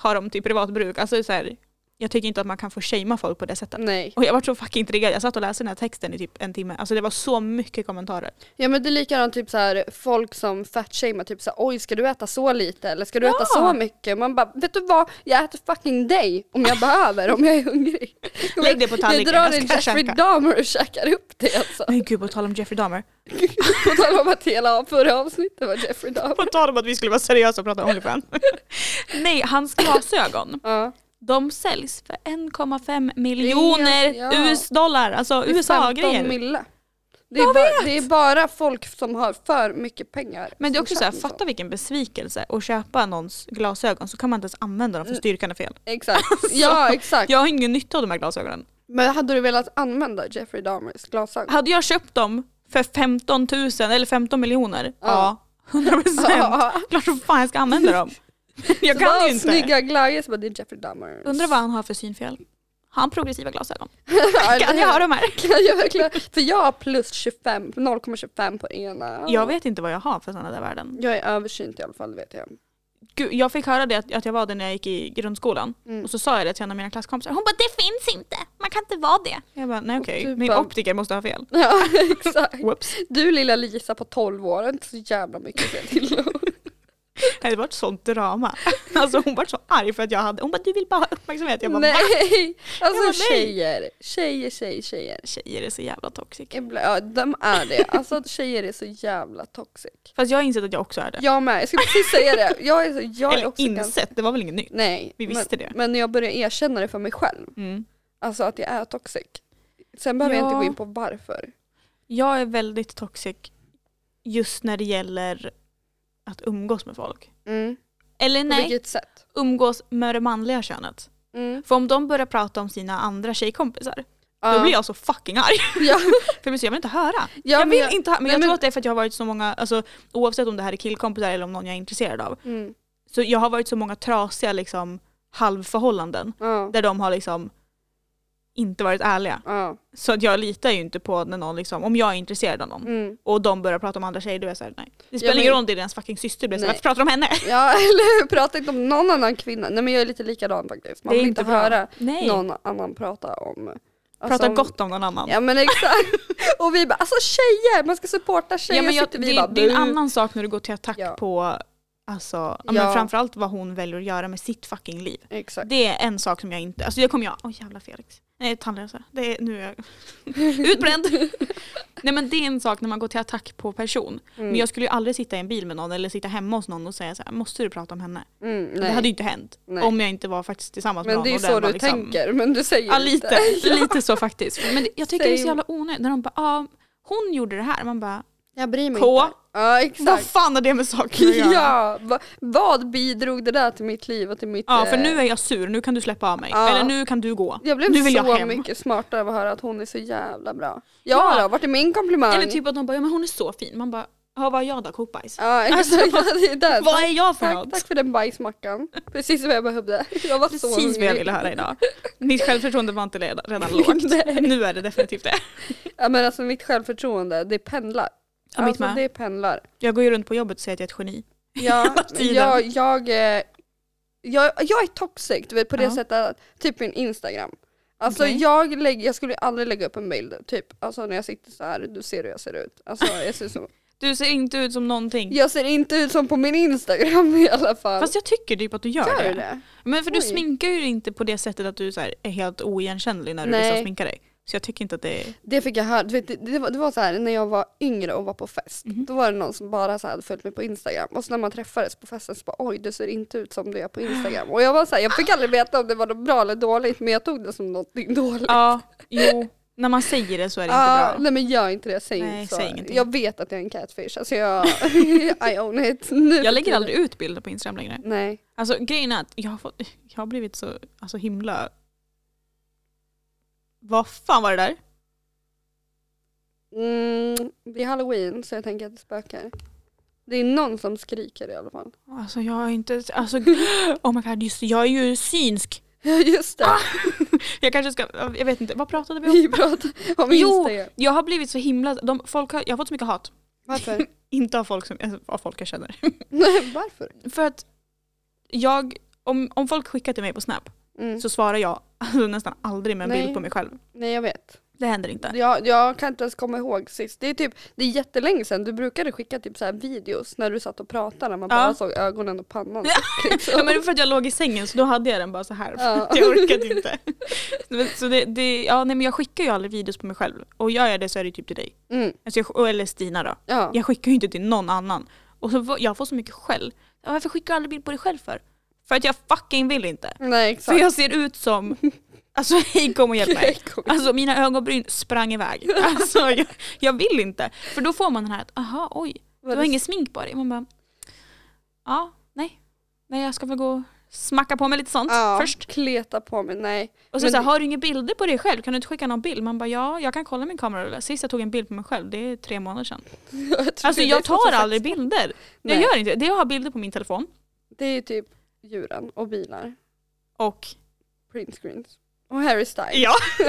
Speaker 1: ha dem till privat bruk. Alltså så här, jag tycker inte att man kan få shamea folk på det sättet.
Speaker 2: Nej.
Speaker 1: Och jag var så fucking triggad, jag satt och läste den här texten i typ en timme. Alltså det var så mycket kommentarer.
Speaker 2: Ja men det är likadant typ så här folk som fatshamear typ så här, oj ska du äta så lite eller ska du äta så mycket? Man bara vet du vad jag äter fucking dig om jag behöver om jag är hungrig.
Speaker 1: Lägg det på
Speaker 2: Jag
Speaker 1: tallriken,
Speaker 2: drar
Speaker 1: jag
Speaker 2: en
Speaker 1: ska
Speaker 2: Jeffrey
Speaker 1: käka.
Speaker 2: Dahmer och käkar upp det alltså.
Speaker 1: Men gud på tal om Jeffrey Dahmer.
Speaker 2: På tal om att hela förra avsnittet var Jeffrey Dahmer.
Speaker 1: På tal om att vi skulle vara seriösa och prata Onlyfans. Nej, hans glasögon.
Speaker 2: Ja.
Speaker 1: De säljs för 1,5 miljoner
Speaker 2: Ja.
Speaker 1: US-dollar. Alltså
Speaker 2: Det är 15
Speaker 1: USA-grejer.
Speaker 2: mille. Det är, bara, det är bara folk som har för mycket pengar.
Speaker 1: Men det är
Speaker 2: som
Speaker 1: också så här,
Speaker 2: köper sånt.
Speaker 1: fatta vilken besvikelse att köpa någons glasögon så kan man inte ens använda dem för
Speaker 2: Mm.
Speaker 1: styrkan är fel.
Speaker 2: Exakt.
Speaker 1: Alltså.
Speaker 2: Ja exakt.
Speaker 1: Jag har ingen nytta av de här glasögonen.
Speaker 2: Men hade du velat använda Jeffrey Dahmers glasögon?
Speaker 1: Hade jag köpt dem för 15 000 eller 15 miljoner, ja. 100 procent.
Speaker 2: Ja.
Speaker 1: Klart som fan jag ska använda dem. Jag
Speaker 2: Så
Speaker 1: kan
Speaker 2: bara
Speaker 1: ju inte.
Speaker 2: Snygga glajjor så bara det är Jeffrey Dahmer.
Speaker 1: Undrar vad han har för synfel. Har han progressiva glasögon?
Speaker 2: Ja, eller
Speaker 1: Kan jag
Speaker 2: hur?
Speaker 1: ha de här?
Speaker 2: Kan jag verkligen? För jag har plus 25, 0,25 på ena.
Speaker 1: Jag vet inte vad jag har för sådana där värden.
Speaker 2: Jag är översynt i alla fall vet jag.
Speaker 1: Gud, jag fick höra det att, att jag var det när jag gick i grundskolan.
Speaker 2: Mm.
Speaker 1: Och så sa jag det till en av mina klasskompisar. Hon bara det finns inte, man kan inte vara det. Jag bara nej okej,
Speaker 2: du
Speaker 1: min
Speaker 2: bara-
Speaker 1: optiker måste ha fel.
Speaker 2: Ja exakt.
Speaker 1: Whoops.
Speaker 2: Du lilla Lisa på 12 år, inte så jävla mycket att säga till om.
Speaker 1: Det var ett sånt drama. Alltså hon var så arg för att jag hade, hon bara du vill bara ha uppmärksamhet. Jag bara nej.
Speaker 2: Nej! Alltså
Speaker 1: Jag bara, nej.
Speaker 2: tjejer, tjejer, tjejer, tjejer.
Speaker 1: tjejer är så jävla toxic.
Speaker 2: Ibland- Ja, de är det. Alltså tjejer är så jävla toxic.
Speaker 1: Fast jag har insett att jag också är det.
Speaker 2: Jag med, jag skulle precis säga det. Jag är, så, jag är
Speaker 1: Eller
Speaker 2: också ganska...
Speaker 1: insett, det var väl inget nytt.
Speaker 2: Nej,
Speaker 1: Vi visste det.
Speaker 2: men, men när jag börjar erkänna det för mig själv,
Speaker 1: Mm.
Speaker 2: alltså att jag är toxic. Sen behöver jag
Speaker 1: Ja.
Speaker 2: inte gå in på varför.
Speaker 1: Jag är väldigt toxic just när det gäller att umgås med folk.
Speaker 2: Mm.
Speaker 1: Eller
Speaker 2: På
Speaker 1: nej,
Speaker 2: vilket sätt.
Speaker 1: umgås med det manliga könet.
Speaker 2: Mm.
Speaker 1: För om de börjar prata om sina andra tjejkompisar,
Speaker 2: Ja.
Speaker 1: då blir jag så fucking arg.
Speaker 2: Ja,
Speaker 1: För jag vill inte höra.
Speaker 2: ja,
Speaker 1: jag
Speaker 2: men
Speaker 1: vill
Speaker 2: jag-
Speaker 1: inte ha, men
Speaker 2: Nej,
Speaker 1: jag
Speaker 2: men-
Speaker 1: tror att det är för att jag har varit så många, alltså, oavsett om det här är killkompisar eller om någon jag är intresserad av,
Speaker 2: Mm.
Speaker 1: Så jag har varit så många trasiga liksom, halvförhållanden
Speaker 2: Ja.
Speaker 1: där de har liksom inte varit ärliga.
Speaker 2: Ja.
Speaker 1: Så att jag litar ju inte på när någon liksom, om jag är intresserad av någon
Speaker 2: Mm.
Speaker 1: och de börjar prata om andra tjejer, då är jag såhär nej. Det spelar
Speaker 2: men-
Speaker 1: ingen roll om det är deras fucking syster, det blir så här,
Speaker 2: Nej.
Speaker 1: varför pratar de om henne?
Speaker 2: ja, eller hur? Prata inte om någon annan kvinna. Nej men jag är lite likadan faktiskt. Man
Speaker 1: Det är
Speaker 2: vill inte
Speaker 1: inte bra.
Speaker 2: höra
Speaker 1: Nej,
Speaker 2: någon annan prata om...
Speaker 1: prata
Speaker 2: alltså, om-
Speaker 1: gott om någon annan.
Speaker 2: Ja men exakt. Och vi bara, alltså tjejer, man ska supporta tjejer.
Speaker 1: Ja, men jag,
Speaker 2: sitter vi
Speaker 1: det,
Speaker 2: bara,
Speaker 1: det är en
Speaker 2: "Bu."
Speaker 1: annan sak när du går till attack
Speaker 2: Ja.
Speaker 1: på alltså, ja. men
Speaker 2: Ja.
Speaker 1: framförallt vad hon väljer att göra med sitt fucking liv.
Speaker 2: Exakt.
Speaker 1: Det är en sak som jag inte, alltså det kommer jag, oj jävla Felix. Nej tandlösa, det är, nu är jag utbränd. Nej men det är en sak när man går till attack på person.
Speaker 2: Mm.
Speaker 1: Men jag skulle ju aldrig sitta i en bil med någon eller sitta hemma hos någon och säga så här, måste du prata om henne?
Speaker 2: Mm, nej.
Speaker 1: Det hade ju inte hänt.
Speaker 2: Nej.
Speaker 1: Om jag inte var faktiskt tillsammans med
Speaker 2: men
Speaker 1: någon.
Speaker 2: det är ju
Speaker 1: och
Speaker 2: så
Speaker 1: den var liksom-
Speaker 2: du tänker, men du säger
Speaker 1: Ja
Speaker 2: inte.
Speaker 1: lite, lite så faktiskt. Men jag tycker det är så
Speaker 2: Same.
Speaker 1: jävla onödigt när de bara, ah, hon gjorde det här. Man bara,
Speaker 2: Jag bryr mig
Speaker 1: K.
Speaker 2: inte. Ja
Speaker 1: vad
Speaker 2: exakt.
Speaker 1: fan har det med saker att göra?
Speaker 2: Ja, va, vad bidrog det där till mitt liv och till mitt...
Speaker 1: Ja för
Speaker 2: eh,
Speaker 1: nu är jag sur, nu kan du släppa av mig.
Speaker 2: Ja.
Speaker 1: Eller nu kan du gå.
Speaker 2: Jag blev
Speaker 1: nu vill
Speaker 2: så
Speaker 1: jag hem.
Speaker 2: mycket smartare av att höra att hon är så jävla bra. Ja,
Speaker 1: Ja.
Speaker 2: då, vart är min komplimang?
Speaker 1: Eller typ att de bara, ja men hon är så fin. Man bara, ja vad är jag då? Kokbajs?
Speaker 2: Ja exakt, det är där.
Speaker 1: Alltså, Vad är jag för
Speaker 2: Tack,
Speaker 1: något?
Speaker 2: tack för den bajsmackan. Precis vad jag behövde. Jag var så
Speaker 1: Precis vad jag ville höra idag. Mitt självförtroende var inte redan redan lågt.
Speaker 2: Nej.
Speaker 1: Nu är det definitivt det.
Speaker 2: Ja, men alltså mitt självförtroende, det pendlar.
Speaker 1: Ja, mitt
Speaker 2: alltså
Speaker 1: med.
Speaker 2: det pendlar.
Speaker 1: Jag går ju runt på jobbet och säger att jag är ett geni.
Speaker 2: Ja,
Speaker 1: tiden.
Speaker 2: jag, jag, eh, jag, jag är toxic, du vet på det
Speaker 1: Ja.
Speaker 2: sättet att, typ min Instagram. Alltså
Speaker 1: Okej.
Speaker 2: jag, lägger, jag skulle ju aldrig lägga upp en bild, typ alltså när jag sitter så här, du ser hur jag ser ut. Alltså jag ser, som,
Speaker 1: Du ser inte ut som någonting.
Speaker 2: jag ser inte ut som på min Instagram i alla fall.
Speaker 1: Fast jag tycker typ att du gör,
Speaker 2: Gör
Speaker 1: det.
Speaker 2: du det?
Speaker 1: Men för du
Speaker 2: Oj.
Speaker 1: sminkar ju inte på det sättet att du så här är helt oigenkännlig när du
Speaker 2: Nej.
Speaker 1: liksom sminkar dig. Så jag tycker inte att det är...
Speaker 2: Det fick jag höra, du vet, det, det, var, det var så här när jag var yngre och var på fest.
Speaker 1: Mhm.
Speaker 2: Då var det någon som bara så här hade följt mig på Instagram och så när man träffades på festen så bara oj du ser inte ut som du gör på Instagram. Och jag var så här, jag fick aldrig veta om det var något bra eller dåligt men jag tog det som någonting dåligt.
Speaker 1: Ja, jo. När man säger det så är det
Speaker 2: Ah,
Speaker 1: inte bra.
Speaker 2: nej men gör inte det, säg
Speaker 1: Nej,
Speaker 2: inte så.
Speaker 1: säg ingenting.
Speaker 2: jag vet att jag är en catfish, alltså jag, I own it. Nu för
Speaker 1: Jag lägger
Speaker 2: tiden.
Speaker 1: aldrig ut bilder på Instagram längre.
Speaker 2: Nej.
Speaker 1: Alltså grejen är att jag har, fått, jag har blivit så alltså, himla... Vad fan var det där?
Speaker 2: Mm, det är halloween så jag tänker att det spökar. Det är någon som skriker i alla fall.
Speaker 1: Alltså jag är inte... Alltså, oh my god, just det, jag är ju synsk.
Speaker 2: Just
Speaker 1: Ah!
Speaker 2: det,
Speaker 1: Jag kanske ska... Jag vet inte, vad pratade vi om?
Speaker 2: vi pratade om
Speaker 1: Jo!
Speaker 2: Instagram.
Speaker 1: Jag har blivit så himla... De, folk har, jag har fått så mycket hat.
Speaker 2: Varför?
Speaker 1: Inte av folk, som, alltså, av folk jag känner.
Speaker 2: Nej, varför?
Speaker 1: För att jag... Om, om folk skickar till mig på Snap
Speaker 2: Mm.
Speaker 1: så svarar jag alltså, nästan aldrig med en
Speaker 2: Nej.
Speaker 1: bild på mig själv.
Speaker 2: Nej jag vet.
Speaker 1: Det händer inte.
Speaker 2: Jag, jag kan inte ens komma ihåg sist. Det är typ, det är jättelänge sedan du brukade skicka typ så här videos när du satt och pratade, man
Speaker 1: Ja.
Speaker 2: bara såg ögonen och pannan.
Speaker 1: Ja, men det var för att jag låg i sängen så då hade jag den bara så här.
Speaker 2: Ja.
Speaker 1: Jag orkade inte. Men Så det, det, ja, nej, men jag skickar ju aldrig videos på mig själv. Och gör jag det så är det typ till dig.
Speaker 2: Mm.
Speaker 1: Alltså jag, och- eller Stina då.
Speaker 2: Ja.
Speaker 1: Jag skickar ju inte till någon annan. Och så, får- jag får så mycket skäll. Ja, Varför skickar du aldrig bild på dig själv för? För att jag fucking vill inte.
Speaker 2: Nej
Speaker 1: För
Speaker 2: exakt.
Speaker 1: jag ser ut som... Alltså hej kom och hjälp mig.
Speaker 2: Kom.
Speaker 1: Alltså mina ögonbryn sprang iväg. Alltså jag, jag vill inte. För då får man den här att aha oj, du
Speaker 2: Var
Speaker 1: har
Speaker 2: det-
Speaker 1: inget smink på dig. Man bara, ja, nej. Nej, jag ska väl gå och smacka på mig lite sånt
Speaker 2: ja,
Speaker 1: först.
Speaker 2: Kleta på mig, nej.
Speaker 1: Och så,
Speaker 2: Men
Speaker 1: så här,
Speaker 2: det-
Speaker 1: har du inga bilder på dig själv? Kan du inte skicka någon bild? Man bara, ja, jag kan kolla min kamerarulle. Sist jag tog en bild på mig själv, det är tre månader sedan. Alltså jag tar aldrig bilder. Jag
Speaker 2: Nej.
Speaker 1: gör inte det. Jag har bilder på min telefon
Speaker 2: Det är typ djuren och bilar,
Speaker 1: och
Speaker 2: print screens. Och Harry Styles.
Speaker 1: ja.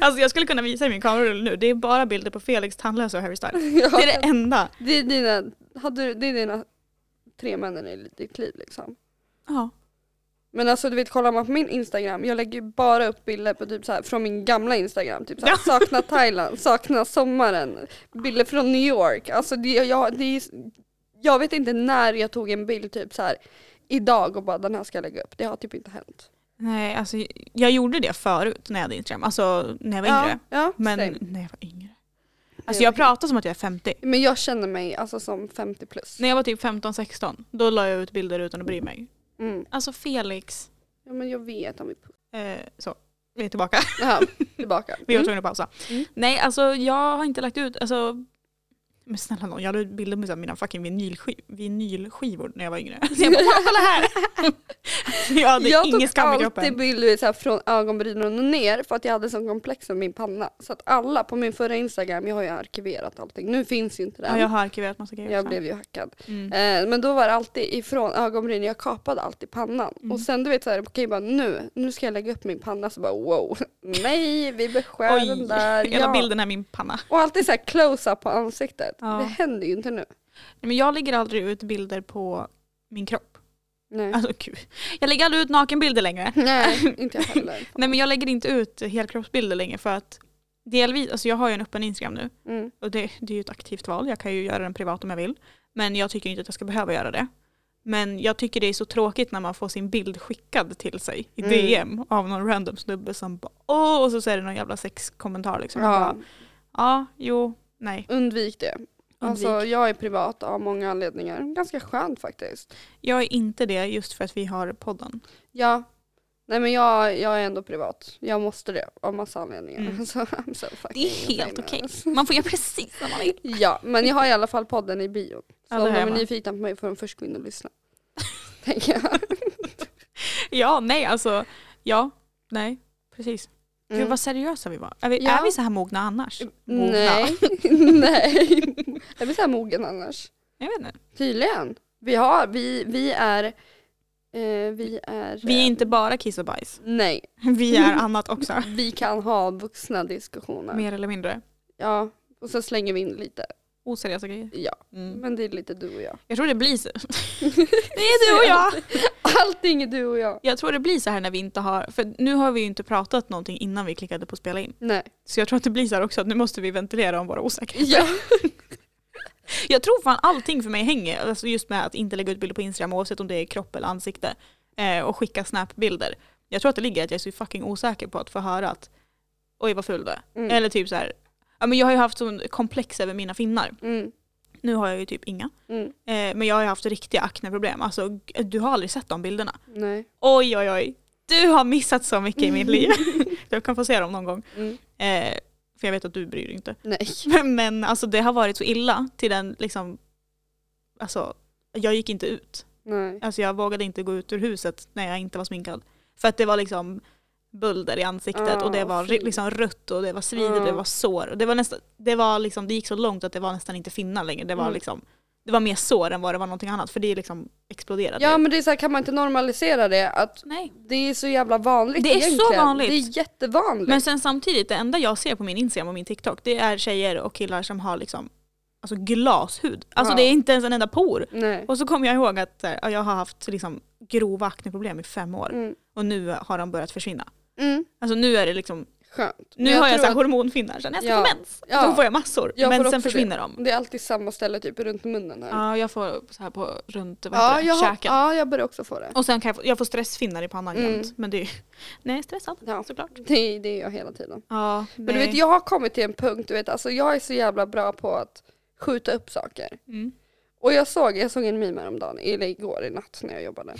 Speaker 1: alltså jag skulle kunna visa dig min kamerarulle nu. Det är bara bilder på Felix tandlösa och Harry Styles.
Speaker 2: Ja,
Speaker 1: Det är det enda.
Speaker 2: det, är dina, hade, du- det är dina tre männen i ditt liv liksom.
Speaker 1: Ja.
Speaker 2: Men alltså du vet kollar man på min instagram, jag lägger ju bara upp bilder på typ så här, från min gamla instagram. Typ så här,
Speaker 1: Ja.
Speaker 2: sakna Thailand, sakna sommaren, bilder från New York. Alltså det, jag, det är, jag vet inte när jag tog en bild typ så här idag och bara den här ska jag lägga upp. Det har typ inte hänt.
Speaker 1: Nej, alltså jag gjorde det förut när jag hade Instagram. Alltså när jag var yngre.
Speaker 2: Ja, ja,
Speaker 1: Men
Speaker 2: same.
Speaker 1: när jag var yngre. Alltså jag pratar som att jag är 50.
Speaker 2: Men jag känner mig alltså som 50 plus.
Speaker 1: När jag var typ 15-16, då la jag ut bilder utan att bry mig.
Speaker 2: Mm.
Speaker 1: Alltså Felix,
Speaker 2: Ja men jag vet om vi...
Speaker 1: eh, så, vi är tillbaka.
Speaker 2: Jaha, tillbaka.
Speaker 1: Vi var
Speaker 2: Mm.
Speaker 1: tvungna att pausa.
Speaker 2: Mm.
Speaker 1: Nej, alltså jag har inte lagt ut, alltså Men snälla nån, jag hade bilder med så här mina fucking vinylskiv, vinylskivor när jag var yngre. Så jag bara, "Wow, kolla här! jag hade
Speaker 2: Mm. jag
Speaker 1: ingen
Speaker 2: tog
Speaker 1: skam i
Speaker 2: alltid
Speaker 1: kroppen.
Speaker 2: bilder så här från ögonbrynen och ner för att jag hade sån komplex om min panna. Så att alla på min förra instagram, jag har ju arkiverat allting. Nu finns ju inte
Speaker 1: Ja,
Speaker 2: den.
Speaker 1: jag har arkiverat massa grejer
Speaker 2: Jag
Speaker 1: också.
Speaker 2: blev ju hackad.
Speaker 1: Mm.
Speaker 2: Eh, Men då var det alltid ifrån ögonbrynen, jag kapade alltid pannan.
Speaker 1: Mm.
Speaker 2: Och sen du vet såhär, okej bara nu, nu ska jag lägga upp min panna så bara wow, nej vi beskär den
Speaker 1: Oj,
Speaker 2: där.
Speaker 1: hela bilden är min panna.
Speaker 2: Och alltid såhär close-up på ansiktet.
Speaker 1: Ja.
Speaker 2: Det händer ju inte nu.
Speaker 1: Nej, Men jag lägger aldrig ut bilder på min kropp.
Speaker 2: Nej,
Speaker 1: Alltså gud. Jag lägger aldrig ut nakenbilder längre.
Speaker 2: nej inte jag heller.
Speaker 1: Nej men jag lägger inte ut helkroppsbilder längre för att delvis, alltså jag har ju en öppen Instagram nu
Speaker 2: Mm.
Speaker 1: och det, det är ju ett aktivt val. Jag kan ju göra den privat om jag vill. Men jag tycker inte att jag ska behöva göra det. Men jag tycker det är så tråkigt när man får sin bild skickad till sig i
Speaker 2: Mm.
Speaker 1: DM av någon random snubbe som bara åh och så säger det någon jävla sexkommentar liksom. Jag
Speaker 2: Ja,
Speaker 1: bara, ja, jo, nej.
Speaker 2: undvik det. Alltså
Speaker 1: Undvik.
Speaker 2: jag är privat av många anledningar. Ganska skönt faktiskt.
Speaker 1: Jag är inte det just för att vi har podden.
Speaker 2: Ja. Nej men jag, jag är ändå privat. Jag måste det av massa anledningar.
Speaker 1: Mm.
Speaker 2: Så, I'm so fucking
Speaker 1: Det är helt
Speaker 2: famous.
Speaker 1: okej. Man får göra precis vad man vill.
Speaker 2: Ja, men jag har i alla fall podden i bion. Så
Speaker 1: Ja, det
Speaker 2: om de
Speaker 1: har jag
Speaker 2: är
Speaker 1: med.
Speaker 2: nyfikna på mig får de först gå in och lyssna. Tänker jag.
Speaker 1: Ja, nej alltså. Ja, nej, precis. Gud
Speaker 2: Mm.
Speaker 1: vad seriösa vi var. Är vi,
Speaker 2: Ja.
Speaker 1: är vi så här mogna annars? Mogna?
Speaker 2: Mm. Nej, nej. Jag blir så här mogen annars.
Speaker 1: Jag vet inte.
Speaker 2: Tydligen. Vi har, vi, vi är, eh, vi är.
Speaker 1: Vi är
Speaker 2: eh,
Speaker 1: inte bara kiss och bajs.
Speaker 2: Nej,
Speaker 1: Vi är annat också.
Speaker 2: vi kan ha vuxna diskussioner.
Speaker 1: Mer eller mindre.
Speaker 2: Ja, och så slänger vi in lite.
Speaker 1: Oseriösa grejer.
Speaker 2: Ja,
Speaker 1: Mm.
Speaker 2: men det är lite du och jag.
Speaker 1: Jag tror det blir så. det är du och jag.
Speaker 2: Allting är du och jag.
Speaker 1: Jag tror det blir så här när vi inte har, för nu har vi ju inte pratat någonting innan vi klickade på spela in.
Speaker 2: Nej.
Speaker 1: Så jag tror att det blir så här också att nu måste vi ventilera om våra osäkerheter.
Speaker 2: Ja.
Speaker 1: Jag tror fan allting för mig hänger, alltså just med att inte lägga ut bilder på Instagram oavsett om det är kropp eller ansikte. Eh, och skicka snapbilder. Jag tror att det ligger i att jag är så fucking osäker på att få höra att oj vad ful du är.
Speaker 2: Mm.
Speaker 1: Eller typ så här, ja men jag har ju haft sån komplex över mina finnar.
Speaker 2: Mm.
Speaker 1: Nu har jag ju typ inga.
Speaker 2: Mm.
Speaker 1: Eh, men jag har ju haft riktiga akneproblem. Alltså g- du har aldrig sett de bilderna.
Speaker 2: Nej.
Speaker 1: Oj oj oj. Du har missat så mycket i mitt liv. jag kan få se dem någon gång.
Speaker 2: Mm.
Speaker 1: Eh, för jag vet att du bryr dig inte.
Speaker 2: Nej.
Speaker 1: Men alltså det har varit så illa till den liksom, alltså jag gick inte ut.
Speaker 2: Nej.
Speaker 1: Alltså jag vågade inte gå ut ur huset när jag inte var sminkad. För att det var liksom bulder i ansiktet
Speaker 2: Ah,
Speaker 1: och det var
Speaker 2: fy.
Speaker 1: ri- liksom rött och det var svid och
Speaker 2: Ah.
Speaker 1: det var sår. Och det, var nästan, det, var liksom, det gick så långt att det var nästan inte finnar längre. Det var,
Speaker 2: Mm.
Speaker 1: liksom, det var mer sår än vad det var någonting annat för det liksom exploderade.
Speaker 2: Ja men det är så här, kan man inte normalisera det? Att
Speaker 1: Nej.
Speaker 2: det är så jävla vanligt
Speaker 1: Det är så
Speaker 2: egentligen.
Speaker 1: vanligt.
Speaker 2: Det är jättevanligt.
Speaker 1: Men sen samtidigt, det enda jag ser på min Instagram och min TikTok det är tjejer och killar som har liksom, alltså glashud. Alltså
Speaker 2: Ja.
Speaker 1: det är inte ens en enda por.
Speaker 2: Nej.
Speaker 1: Och så kommer jag ihåg att så här, ja, jag har haft liksom, grova akneproblem i fem år
Speaker 2: Mm.
Speaker 1: och nu har de börjat försvinna.
Speaker 2: Mm.
Speaker 1: Alltså nu är det liksom,
Speaker 2: Skönt.
Speaker 1: nu
Speaker 2: Men
Speaker 1: har jag
Speaker 2: tror
Speaker 1: så här, hormonfinnar sen jag ska
Speaker 2: Ja.
Speaker 1: få mens.
Speaker 2: Ja.
Speaker 1: Då får jag massor,
Speaker 2: Jag får
Speaker 1: men
Speaker 2: också
Speaker 1: sen försvinner de.
Speaker 2: att det är alltid samma ställe typ runt munnen här.
Speaker 1: Ja, jag får så här på runt vad
Speaker 2: ja,
Speaker 1: heter det,
Speaker 2: jag, har-
Speaker 1: käken.
Speaker 2: ja jag börjar också få det.
Speaker 1: Och sen kan jag, få, jag får stressfinnar i pannan
Speaker 2: Mm.
Speaker 1: jämt. Men det är, nej, stressad
Speaker 2: Ja.
Speaker 1: såklart.
Speaker 2: Det, det är jag hela tiden.
Speaker 1: Ja,
Speaker 2: Men du vet jag har kommit till en punkt, du vet alltså jag är så jävla bra på att skjuta upp saker.
Speaker 1: mm.
Speaker 2: Och jag såg, jag såg en meme häromdagen, eller igår i natt när jag jobbade.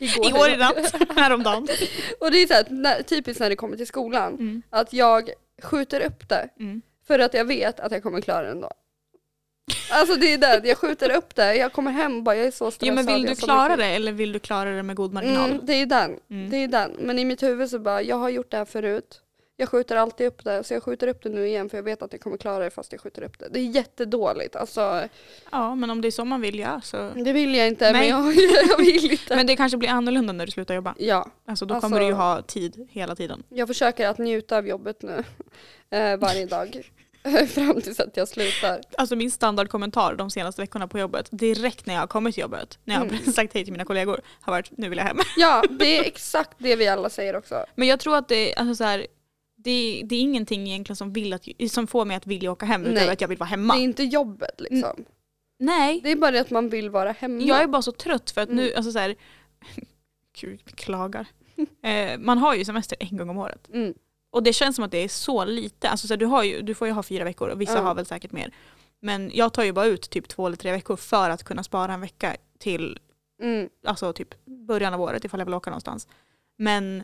Speaker 2: igår,
Speaker 1: Igår i natt, häromdagen.
Speaker 2: Och det är så här, när, typiskt när det kommer till skolan,
Speaker 1: Mm.
Speaker 2: att jag skjuter upp det
Speaker 1: Mm.
Speaker 2: för att jag vet att jag kommer klara det ändå. Alltså det är det, jag skjuter upp det, jag kommer hem och bara jag är så stressad.
Speaker 1: Jo men vill
Speaker 2: jag
Speaker 1: du
Speaker 2: har så
Speaker 1: klara
Speaker 2: mycket-
Speaker 1: det eller vill du klara det med god marginal?
Speaker 2: Mm, det är den,
Speaker 1: Mm.
Speaker 2: det är den. Men i mitt huvud så bara, jag har gjort det här förut. Jag skjuter alltid upp det, så jag skjuter upp det nu igen för jag vet att jag kommer klara det fast jag skjuter upp det. Det är jättedåligt, alltså
Speaker 1: Ja men om det är så man vill göra så.
Speaker 2: det vill jag inte
Speaker 1: Nej.
Speaker 2: men jag, jag vill inte.
Speaker 1: Men det kanske blir annorlunda när du slutar jobba.
Speaker 2: Ja,
Speaker 1: Alltså då
Speaker 2: Alltså-
Speaker 1: kommer du ju ha tid hela tiden.
Speaker 2: jag försöker att njuta av jobbet nu eh, varje dag fram tills att jag slutar.
Speaker 1: Alltså min standardkommentar de senaste veckorna på jobbet, direkt när jag har kommit till jobbet, när jag har sagt hej till mina kollegor, har varit nu vill jag hem.
Speaker 2: Ja, det är exakt det vi alla säger också.
Speaker 1: Men jag tror att det, alltså så här, det, det är ingenting egentligen som, vill att, som får mig att vilja åka hem
Speaker 2: Nej.
Speaker 1: utöver att jag vill vara
Speaker 2: Det
Speaker 1: hemma.
Speaker 2: är inte jobbet liksom.
Speaker 1: Nej,
Speaker 2: Det är bara det att man vill vara hemma.
Speaker 1: Mm. jag är bara så trött för att nu,
Speaker 2: Mm.
Speaker 1: alltså så här, gud jag klagar. Eh, man har ju semester en gång om året.
Speaker 2: Mm.
Speaker 1: Och det känns som att det är så lite. Alltså, så här, du, har ju, du får ju ha fyra veckor och vissa
Speaker 2: Ja.
Speaker 1: har väl säkert mer. Men jag tar ju bara ut typ två eller tre veckor för att kunna spara en vecka till
Speaker 2: Mm.
Speaker 1: alltså, typ början av året ifall jag vill åka någonstans. Men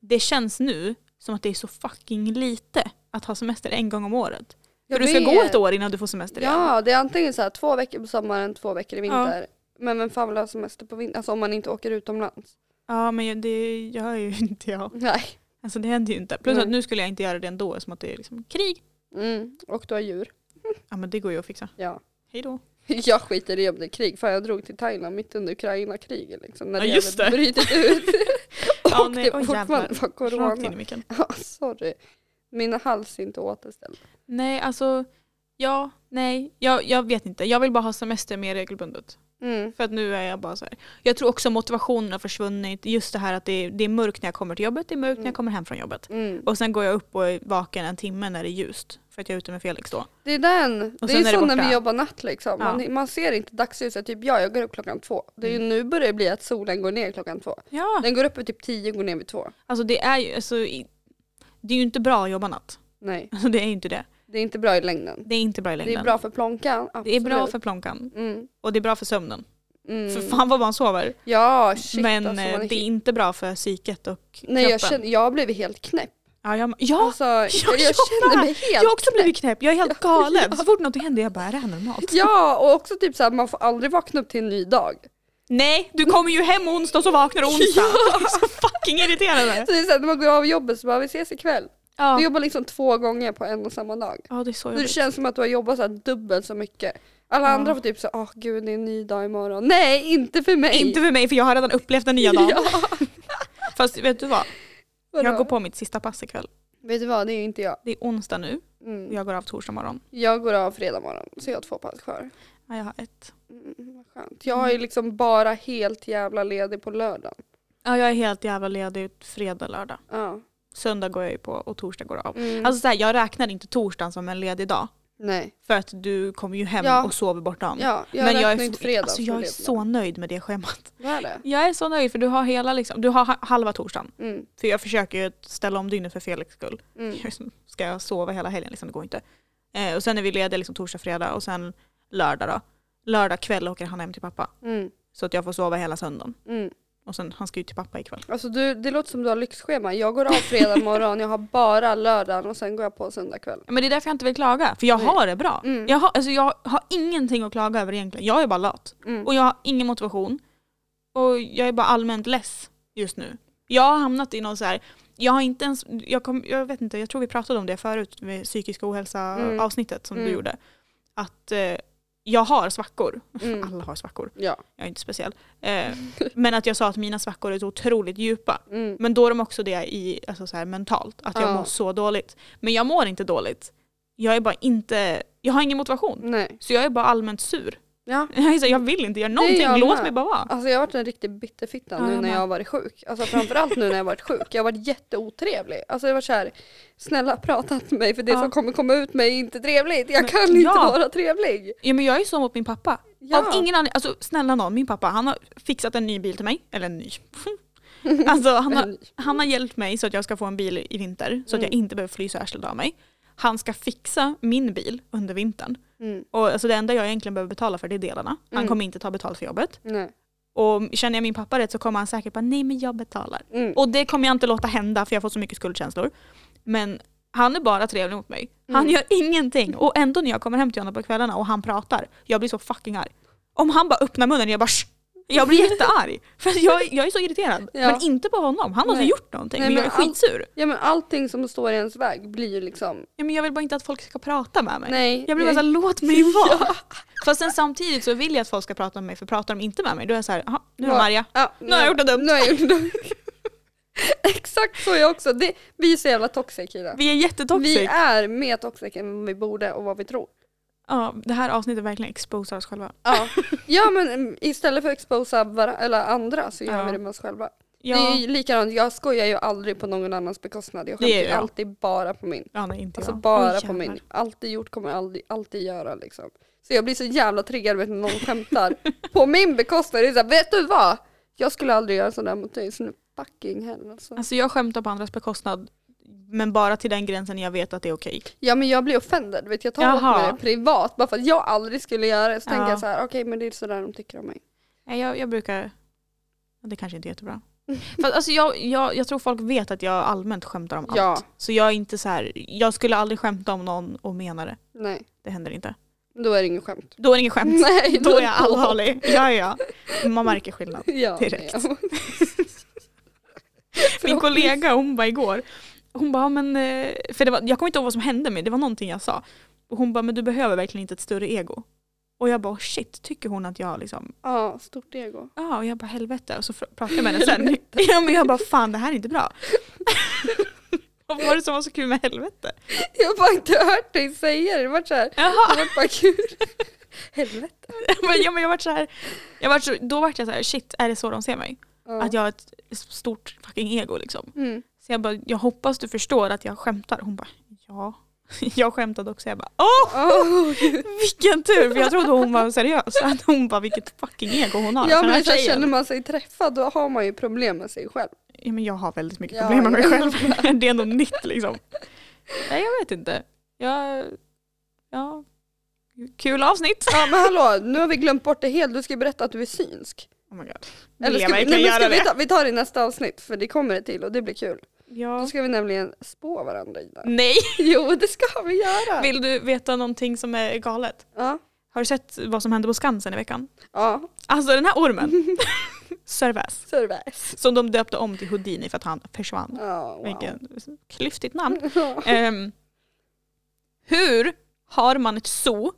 Speaker 1: det känns nu som att det är så fucking lite att ha semester en gång om året. För du ska
Speaker 2: vet.
Speaker 1: gå ett år innan du får semester igen.
Speaker 2: Ja, det är antingen så här två veckor på sommaren, två veckor i vinter. Men vem fan vill ha semester på vintern? Alltså om man inte åker utomlands.
Speaker 1: Ja men jag- det gör ju inte jag.
Speaker 2: Nej.
Speaker 1: Alltså det händer ju inte. Plus
Speaker 2: Nej.
Speaker 1: att nu skulle jag inte göra det ändå som att det är liksom krig.
Speaker 2: Mm. Och du har djur.
Speaker 1: Ja men det går ju att fixa.
Speaker 2: Ja.
Speaker 1: Hej då.
Speaker 2: Jag skiter i om det är krig, för jag drog till Thailand mitt under Ukraina-kriget liksom. När
Speaker 1: Ja, just
Speaker 2: hade
Speaker 1: det.
Speaker 2: brutit ut. och
Speaker 1: Ja, nej,
Speaker 2: det
Speaker 1: oj,
Speaker 2: fortfarande var
Speaker 1: Rakt in i
Speaker 2: corona.
Speaker 1: micken.
Speaker 2: Ja, sorry. Min hals är inte återställd.
Speaker 1: Nej alltså, ja, nej. Jag, jag vet inte. Jag vill bara ha semester mer regelbundet.
Speaker 2: Mm.
Speaker 1: För att nu är jag bara så här. Jag tror också motivationen har försvunnit. Just det här att det är, det är mörkt när jag kommer till jobbet, det är mörkt när jag kommer hem från jobbet.
Speaker 2: Mm.
Speaker 1: Och sen går jag upp och är vaken en timme när det är ljust. För att jag är ute med Felix då.
Speaker 2: Det är den.
Speaker 1: Och
Speaker 2: Det
Speaker 1: sen
Speaker 2: är,
Speaker 1: är det
Speaker 2: så när
Speaker 1: borta.
Speaker 2: vi jobbar natt liksom.
Speaker 1: Ja. Mm.
Speaker 2: Man, man ser inte dagsljuset. Typ jag, jag går upp klockan två. Det är ju, nu börjar det bli att solen går ner klockan två.
Speaker 1: Ja,
Speaker 2: Den går upp vid typ tio och går ner vid två.
Speaker 1: alltså det är ju, alltså, i- det är ju inte bra att jobba natt.
Speaker 2: Nej,
Speaker 1: Alltså det är ju inte det.
Speaker 2: det är inte bra i längden.
Speaker 1: Det är inte bra i längden.
Speaker 2: Det är bra för plånkan.
Speaker 1: Det är bra
Speaker 2: absolut.
Speaker 1: för plånkan
Speaker 2: Mm,
Speaker 1: och det är bra för sömnen.
Speaker 2: mm.
Speaker 1: För fan vad man sover.
Speaker 2: Ja, shit
Speaker 1: Men
Speaker 2: alltså. Man
Speaker 1: eh,
Speaker 2: är
Speaker 1: det är
Speaker 2: helt...
Speaker 1: inte bra för psyket och
Speaker 2: Nej, jag,
Speaker 1: kroppen.
Speaker 2: känner, jag blev helt knäpp.
Speaker 1: ja, jag, ja
Speaker 2: Alltså, jag,
Speaker 1: jag
Speaker 2: känner mig helt
Speaker 1: jag har också blivit knäpp. Jag är helt galen.
Speaker 2: ja.
Speaker 1: Så fort någonting händer jag bara, är det här normalt?
Speaker 2: Ja, och också typ såhär, man får aldrig vakna upp till en ny dag.
Speaker 1: Nej, du kommer ju hem onsdag och så vaknar du onsdag. Jag är så fucking irriterande.
Speaker 2: Så det är såhär, när man går av jobbet så bara, vi ses ikväll. Du
Speaker 1: Ja,
Speaker 2: jobbar liksom två gånger på en och samma dag.
Speaker 1: ja det är så
Speaker 2: Så det
Speaker 1: jobbigt.
Speaker 2: känns som att du har jobbat så här dubbelt så mycket. Alla
Speaker 1: Ja.
Speaker 2: andra får typ såhär, åh gud det är en ny dag imorgon. Nej, inte för mig!
Speaker 1: Inte för mig för jag har redan upplevt den nya dagen.
Speaker 2: Ja,
Speaker 1: Fast vet du vad?
Speaker 2: vadå?
Speaker 1: Jag går på mitt sista pass ikväll.
Speaker 2: Vet du vad, det är ju inte jag.
Speaker 1: Det är onsdag nu och
Speaker 2: Mm.
Speaker 1: jag går av torsdag morgon.
Speaker 2: Jag går av fredag morgon, så jag har två pass kvar.
Speaker 1: Ja, jag har ett.
Speaker 2: Mm, vad skönt. Jag är liksom bara helt jävla ledig på lördagen.
Speaker 1: Ja, jag är helt jävla ledig fredag, lördag.
Speaker 2: Ja.
Speaker 1: Söndag går jag ju på och torsdag går jag av.
Speaker 2: Mm.
Speaker 1: Alltså så här, jag räknar inte torsdagen som en ledig dag.
Speaker 2: Nej.
Speaker 1: För att du kommer ju hem
Speaker 2: Ja.
Speaker 1: och sover bortom.
Speaker 2: Ja, jag
Speaker 1: Men
Speaker 2: räknar
Speaker 1: jag är,
Speaker 2: inte fredag
Speaker 1: alltså,
Speaker 2: som
Speaker 1: jag är
Speaker 2: ledig.
Speaker 1: så nöjd med det schemat.
Speaker 2: Vad är det?
Speaker 1: Jag är så nöjd för du har hela liksom, du har ha- halva torsdagen.
Speaker 2: Mm.
Speaker 1: För jag försöker ju att ställa om dygnet för Felix skull.
Speaker 2: Mm.
Speaker 1: Ska jag sova hela helgen? Liksom, det går inte. Eh, och sen är vi lediga liksom, torsdag, fredag och sen lördag då. Lördag kväll åker han hem till pappa.
Speaker 2: Mm.
Speaker 1: Så att jag får sova hela söndagen.
Speaker 2: Mm.
Speaker 1: Och sen, han ska ju till pappa ikväll.
Speaker 2: Alltså du, det låter som du har lyxschema. Jag går av fredag morgon, jag har bara lördagen och sen går jag på söndag kväll.
Speaker 1: Ja, Men det är därför jag inte vill klaga, för jag
Speaker 2: Nej.
Speaker 1: har det bra.
Speaker 2: Mm.
Speaker 1: Jag, har, alltså, jag har ingenting att klaga över egentligen. Jag är bara lat.
Speaker 2: Mm.
Speaker 1: Och jag har ingen motivation. Och jag är bara allmänt less just nu. Jag har hamnat i någon så här, jag har inte ens, jag, kom, jag vet inte, jag tror vi pratade om det förut med psykisk ohälsa
Speaker 2: Mm.
Speaker 1: avsnittet som
Speaker 2: Mm.
Speaker 1: du gjorde. Att eh, jag har svackor.
Speaker 2: Mm.
Speaker 1: Alla har svackor,
Speaker 2: Ja.
Speaker 1: jag är inte speciell. Eh, men att jag sa att mina svackor är så otroligt djupa.
Speaker 2: Mm.
Speaker 1: Men då är de också det i, alltså så här, mentalt, att jag
Speaker 2: Ja.
Speaker 1: mår så dåligt. Men jag mår inte dåligt. Jag är bara inte, jag har ingen motivation.
Speaker 2: Nej.
Speaker 1: Så jag är bara allmänt sur.
Speaker 2: Ja.
Speaker 1: Jag är så här, jag vill inte göra någonting,
Speaker 2: jag
Speaker 1: låt
Speaker 2: med.
Speaker 1: mig bara vara.
Speaker 2: Alltså jag har varit en riktig bitterfitta
Speaker 1: Ja,
Speaker 2: nu
Speaker 1: jag
Speaker 2: när
Speaker 1: med.
Speaker 2: jag har varit sjuk. Alltså framförallt nu när jag har varit sjuk. Jag har varit jätteotrevlig. Alltså jag var såhär, snälla prata inte med mig för det
Speaker 1: Ja.
Speaker 2: som kommer komma ut mig är inte trevligt. Jag kan inte
Speaker 1: ja.
Speaker 2: vara trevlig.
Speaker 1: Ja, men jag är så mot min pappa.
Speaker 2: Ja.
Speaker 1: Av ingen anledning, alltså snälla någon, min pappa han har fixat en ny bil till mig. Eller en ny. alltså han har, han har hjälpt mig så att jag ska få en bil i vinter. Så att
Speaker 2: Mm.
Speaker 1: jag inte behöver fly så arslet av mig. Han ska fixa min bil under vintern.
Speaker 2: Mm.
Speaker 1: Och alltså, det enda jag egentligen behöver betala för det är delarna. Han
Speaker 2: Mm.
Speaker 1: kommer inte ta betalt för jobbet.
Speaker 2: Nej.
Speaker 1: Och känner jag min pappa rätt så kommer han säkert bara nej men jag betalar.
Speaker 2: Mm.
Speaker 1: Och det kommer jag inte låta hända för jag får så mycket skuldkänslor. Men han är bara trevlig mot mig. Han
Speaker 2: Mm.
Speaker 1: gör ingenting. Och ändå när jag kommer hem till honom på kvällarna och han pratar, jag blir så fucking arg. Om han bara öppnar munnen, jag bara "Shh!" Jag blir jättearg. För att jag, jag är så irriterad.
Speaker 2: Ja.
Speaker 1: Men inte på honom. Han har
Speaker 2: Nej.
Speaker 1: inte gjort någonting.
Speaker 2: Nej,
Speaker 1: men jag är
Speaker 2: men allt-
Speaker 1: skitsur.
Speaker 2: Ja men allting som står i ens väg blir ju liksom,
Speaker 1: Ja, men jag vill bara inte att folk ska prata med mig.
Speaker 2: nej.
Speaker 1: Jag blir bara såhär, låt mig vara. Fast sen samtidigt så vill jag att folk ska prata med mig, för pratar de inte med mig då är jag såhär, "Jaha, nu är de
Speaker 2: Ja.
Speaker 1: arga.
Speaker 2: Ja,
Speaker 1: Nu har jag gjort något dumt.
Speaker 2: Nu har jag gjort något dumt. Exakt så är jag också. Det, vi är så jävla toxic Ida.
Speaker 1: Vi är jättetoxic.
Speaker 2: Vi är mer toxic än vad vi borde och vad vi tror.
Speaker 1: Ja, det här avsnittet verkligen exposar oss själva.
Speaker 2: Ja, ja men mm, istället för att exposa vara- eller andra så gör
Speaker 1: Ja.
Speaker 2: vi det med oss själva.
Speaker 1: Ja.
Speaker 2: Det är ju likadant, jag skojar ju aldrig på någon annans bekostnad. Jag
Speaker 1: Det gör
Speaker 2: skämtar ju
Speaker 1: jag.
Speaker 2: alltid bara på min.
Speaker 1: Ja, nej, inte
Speaker 2: Alltså
Speaker 1: jag.
Speaker 2: bara
Speaker 1: Oj,
Speaker 2: på min.
Speaker 1: jävlar.
Speaker 2: Alltid gjort kommer jag aldrig, alltid göra liksom. Så jag blir så jävla triggad när någon skämtar på min bekostnad. Det är så här, vet du vad? Jag skulle aldrig göra sådär mot dig så nu fucking hell alltså.
Speaker 1: Alltså jag skämtar på andras bekostnad, men bara till den gränsen jag vet att det är okej.
Speaker 2: Ja men jag blir offended, vet jag tar åt
Speaker 1: Jaha.
Speaker 2: mig det privat bara för att jag aldrig skulle göra det. Så tänker
Speaker 1: Ja.
Speaker 2: jag så här, okej men det är sådär de tycker om mig.
Speaker 1: Nej, jag, jag brukar... Det kanske inte är jättebra. För att, alltså, jag, jag, jag tror folk vet att jag allmänt skämtar om allt.
Speaker 2: Ja.
Speaker 1: Så jag är inte så här, jag skulle aldrig skämta om någon och mena det.
Speaker 2: Nej,
Speaker 1: Det händer inte.
Speaker 2: då är det inget skämt.
Speaker 1: Då är det ingen skämt.
Speaker 2: Nej,
Speaker 1: Då är jag
Speaker 2: det på.
Speaker 1: allvarlig. Ja, ja. Man märker skillnad.
Speaker 2: Ja,
Speaker 1: direkt.
Speaker 2: ja.
Speaker 1: Min kollega hon bara igår, hon bara, "Ja, men, eh," för det var, jag kommer inte ihåg vad som hände men det var någonting jag sa. Och hon bara, men du behöver verkligen inte ett större ego. Och jag bara, "Oh, shit, tycker hon att jag liksom,
Speaker 2: Ja, stort ego.
Speaker 1: ja och jag bara helvete. Och så fr- pratade jag med henne sen. Ja, men jag bara, fan det här är inte bra. Vad var det som var så kul med helvete?
Speaker 2: Jag har bara inte hört dig säga det. Det vart såhär, det
Speaker 1: Jaha,
Speaker 2: vart bara kul. Helvete.
Speaker 1: men, ja, men jag vart så här, jag vart så, då vart jag så här, shit är det så de ser mig?
Speaker 2: Ja.
Speaker 1: Att jag har ett stort fucking ego liksom.
Speaker 2: Mm.
Speaker 1: Så jag bara, jag hoppas du förstår att jag skämtar. Hon bara, ja. Jag skämtade också. Jag bara, åh
Speaker 2: Åh, gud.
Speaker 1: vilken tur! För jag trodde hon var seriös. Att hon bara, vilket fucking ego hon har.
Speaker 2: ja,
Speaker 1: den här
Speaker 2: men så här,
Speaker 1: tjejen.
Speaker 2: känner man sig träffad då har man ju problem med sig själv.
Speaker 1: ja, men jag har väldigt mycket
Speaker 2: Ja,
Speaker 1: problem med mig
Speaker 2: ja.
Speaker 1: själv. det är något nytt liksom. Nej, jag vet inte. Jag, ja. Kul avsnitt.
Speaker 2: Ja men hallå, nu har vi glömt bort det helt. Du ska berätta att du är synsk.
Speaker 1: Oh my god.
Speaker 2: Eller
Speaker 1: Vill
Speaker 2: ska,
Speaker 1: jag
Speaker 2: vi- nej,
Speaker 1: verkligen
Speaker 2: men ska
Speaker 1: göra
Speaker 2: vi,
Speaker 1: det?
Speaker 2: ta, vi tar det i nästa avsnitt för det kommer det till och det blir kul. Då
Speaker 1: Ja.
Speaker 2: ska vi nämligen spå varandra Ida.
Speaker 1: Nej,
Speaker 2: Jo det ska vi göra!
Speaker 1: vill du veta någonting som är galet?
Speaker 2: Ja,
Speaker 1: Har du sett vad som hände på Skansen i veckan?
Speaker 2: ja
Speaker 1: Alltså den här ormen. Servais.
Speaker 2: service.
Speaker 1: Som de döpte om till Houdini för att han försvann.
Speaker 2: Ja, Oh, wow.
Speaker 1: Vilken klyftigt namn.
Speaker 2: Ja.
Speaker 1: Ehm, hur har man ett zoo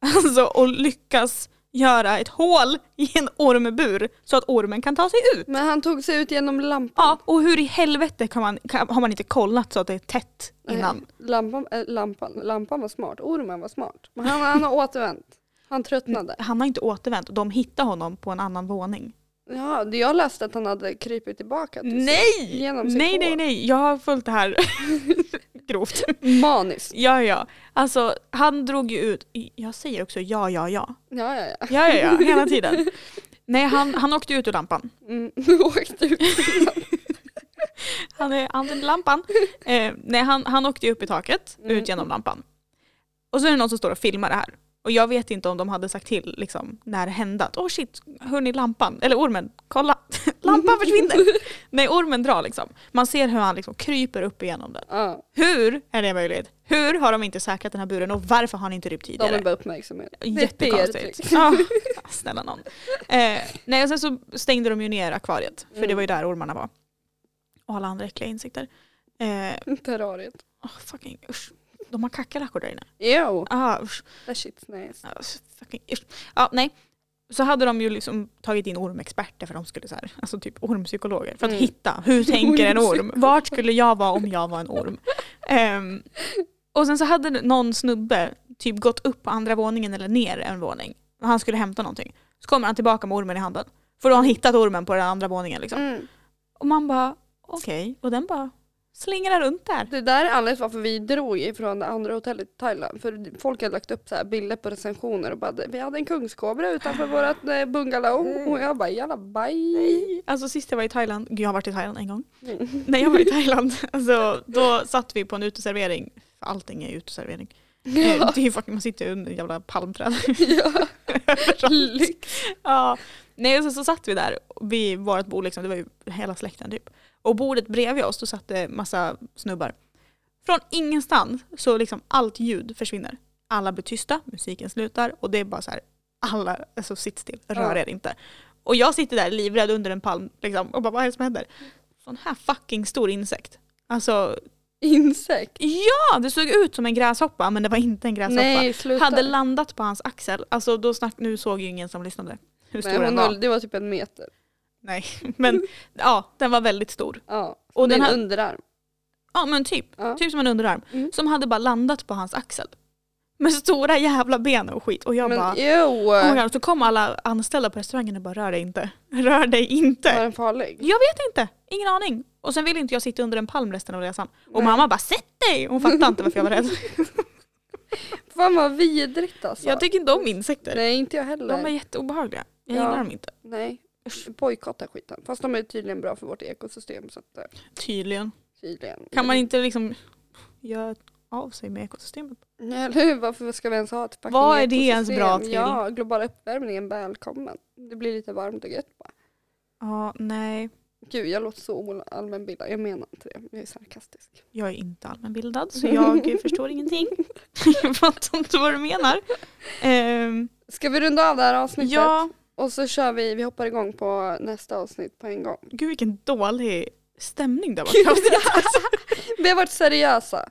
Speaker 1: alltså, och lyckas göra ett hål i en ormbur så att ormen kan ta sig ut?
Speaker 2: Men han tog sig ut genom lampan.
Speaker 1: Ja, och hur i helvete kan man, kan, har man inte kollat så att det är tätt innan?
Speaker 2: Nej, Eh, lampan, äh, lampan, lampan var smart, ormen var smart. Men han, han har återvänt. Han tröttnade.
Speaker 1: Han har inte återvänt och de hittar honom på en annan våning.
Speaker 2: Ja, det- jag läste att han hade krypit tillbaka till sig.
Speaker 1: Nej!
Speaker 2: Genom sitt
Speaker 1: Nej, nej,
Speaker 2: hår.
Speaker 1: nej. Jag har följt det här grovt.
Speaker 2: Maniskt.
Speaker 1: Ja, ja. Alltså, han drog ju ut... Jag säger också ja, ja, ja.
Speaker 2: Ja, ja, ja.
Speaker 1: Ja, ja, ja. Hela tiden. Nej, han, han åkte ut ur lampan.
Speaker 2: Mm. Nu åkte ut.
Speaker 1: Han eh, använde lampan. Eh, nej, han, han åkte ju upp i taket,
Speaker 2: Mm.
Speaker 1: ut genom lampan. Och så är det någon som står och filmar det här. Och jag vet inte om de hade sagt till liksom, när det hände att åh oh shit, hörni lampan, eller ormen, kolla, lampan försvinner. Nej, ormen drar liksom. Man ser hur han liksom kryper upp igenom den.
Speaker 2: Ja,
Speaker 1: Hur är det möjligt? Hur har de inte säkrat den här buren och varför har han inte rymt
Speaker 2: de
Speaker 1: tidigare?
Speaker 2: vill bara uppmärksamhet. Det är ett
Speaker 1: Jättekonstigt.
Speaker 2: PR-trick.
Speaker 1: Ja, snälla någon. Eh, nej, och sen så stängde de ju ner akvariet, för det var ju där ormarna var. Och alla andra äckliga insekter. Eh,
Speaker 2: Terrariet.
Speaker 1: oh, fucking usch. De har kackerlackor där inne.
Speaker 2: Jo,
Speaker 1: Ah, usch.
Speaker 2: that shit's nice.
Speaker 1: Ah, fucking usch. Ja, nej. Så hade de ju liksom tagit in ormexperter för de skulle så här, alltså typ ormpsykologer för att
Speaker 2: Mm.
Speaker 1: hitta hur tänker en orm?
Speaker 2: Ormpsykolog.
Speaker 1: Vart skulle jag vara om jag var en orm? Ehm, och sen så hade någon snubbe typ gått upp på andra våningen eller ner en våning och han skulle hämta någonting. Så kommer han tillbaka med ormen i handen. För då har han hittat ormen på den andra våningen liksom.
Speaker 2: Mm.
Speaker 1: Och man bara okej, och den bara slingrar runt där.
Speaker 2: Det där är anledningen till varför vi drog ifrån det andra hotellet i Thailand. För folk hade lagt upp så här bilder på recensioner och bara vi hade en kungskobra utanför vårat eh, bungalow. Och jag bara jalla baj.
Speaker 1: Alltså sist jag var i Thailand, gud jag har varit i Thailand en gång.
Speaker 2: Mm.
Speaker 1: När jag var i Thailand, alltså, då satt vi på en uteservering. För Allting är uteservering. Eh,
Speaker 2: Ja,
Speaker 1: Det är ju fucking, man sitter ju under jävla palmträd.
Speaker 2: ja. Lyx.
Speaker 1: ja. Nej, och så, så satt vi där vid vårt bord, liksom, det var ju hela släkten typ. Och bordet bredvid oss, då satt det massa snubbar. Från ingenstans så liksom allt ljud försvinner. Alla blir tysta, musiken slutar och det är bara så här, alla alltså, sitt still,
Speaker 2: Ja.
Speaker 1: rör er inte. Och jag sitter där livrädd under en palm liksom, och bara vad är det som händer? Sån här fucking stor insekt. Alltså
Speaker 2: Insekt.
Speaker 1: Ja, det såg ut som en gräshoppa men det var inte en gräshoppa.
Speaker 2: Nej sluta.
Speaker 1: hade landat på hans axel. Alltså då snack, nu såg ju ingen som lyssnade hur stor
Speaker 2: Nej,
Speaker 1: den
Speaker 2: hon
Speaker 1: var.
Speaker 2: höll, det var typ en meter.
Speaker 1: Nej, men ja, den var väldigt stor.
Speaker 2: Ja.
Speaker 1: Och
Speaker 2: Och den
Speaker 1: den
Speaker 2: här...
Speaker 1: här-
Speaker 2: underarm.
Speaker 1: Ja men typ,
Speaker 2: Ja.
Speaker 1: typ som en underarm.
Speaker 2: Mm.
Speaker 1: Som hade bara landat på hans axel. Med stora jävla ben och skit. Och jag
Speaker 2: Men
Speaker 1: bara,
Speaker 2: jo,
Speaker 1: oh my
Speaker 2: var
Speaker 1: God. så kom alla anställda på restaurangen och bara rör dig inte. Rör dig inte.
Speaker 2: den farlig?
Speaker 1: Jag vet inte, ingen aning. Och sen ville inte jag sitta under en palm resten av resan. Och
Speaker 2: Nej.
Speaker 1: mamma bara sätt dig! Hon fattade inte varför jag var rädd.
Speaker 2: Fan vad vidrigt alltså.
Speaker 1: Jag tycker inte om insekter.
Speaker 2: Nej inte jag heller.
Speaker 1: De är jätteobehagliga. Jag
Speaker 2: Ja.
Speaker 1: gillar dem inte.
Speaker 2: Nej. Bojkotta skiten. Fast de är tydligen bra för vårt ekosystem så att eh,
Speaker 1: Tydligen.
Speaker 2: tydligen.
Speaker 1: Kan man inte liksom göra av sig med ekosystemet?
Speaker 2: Nej, eller hur? Varför ska vi ens ha ett fucking
Speaker 1: Vad är det ens
Speaker 2: ekosystem?
Speaker 1: bra till?
Speaker 2: Ja, global uppvärmning, välkommen. Det blir lite varmt och gött bara.
Speaker 1: Ja, nej.
Speaker 2: Gud, jag låter så allmänbildad. Jag menar inte det. Jag är sarkastisk.
Speaker 1: Jag är inte allmänbildad så jag förstår ingenting. jag fattar inte vad du menar. Ehm,
Speaker 2: Ska vi runda av det här avsnittet?
Speaker 1: ja,
Speaker 2: Och så kör vi, vi hoppar igång på nästa avsnitt på en gång.
Speaker 1: gud vilken dålig stämning det har varit. i avsnittet.
Speaker 2: Vi har varit seriösa.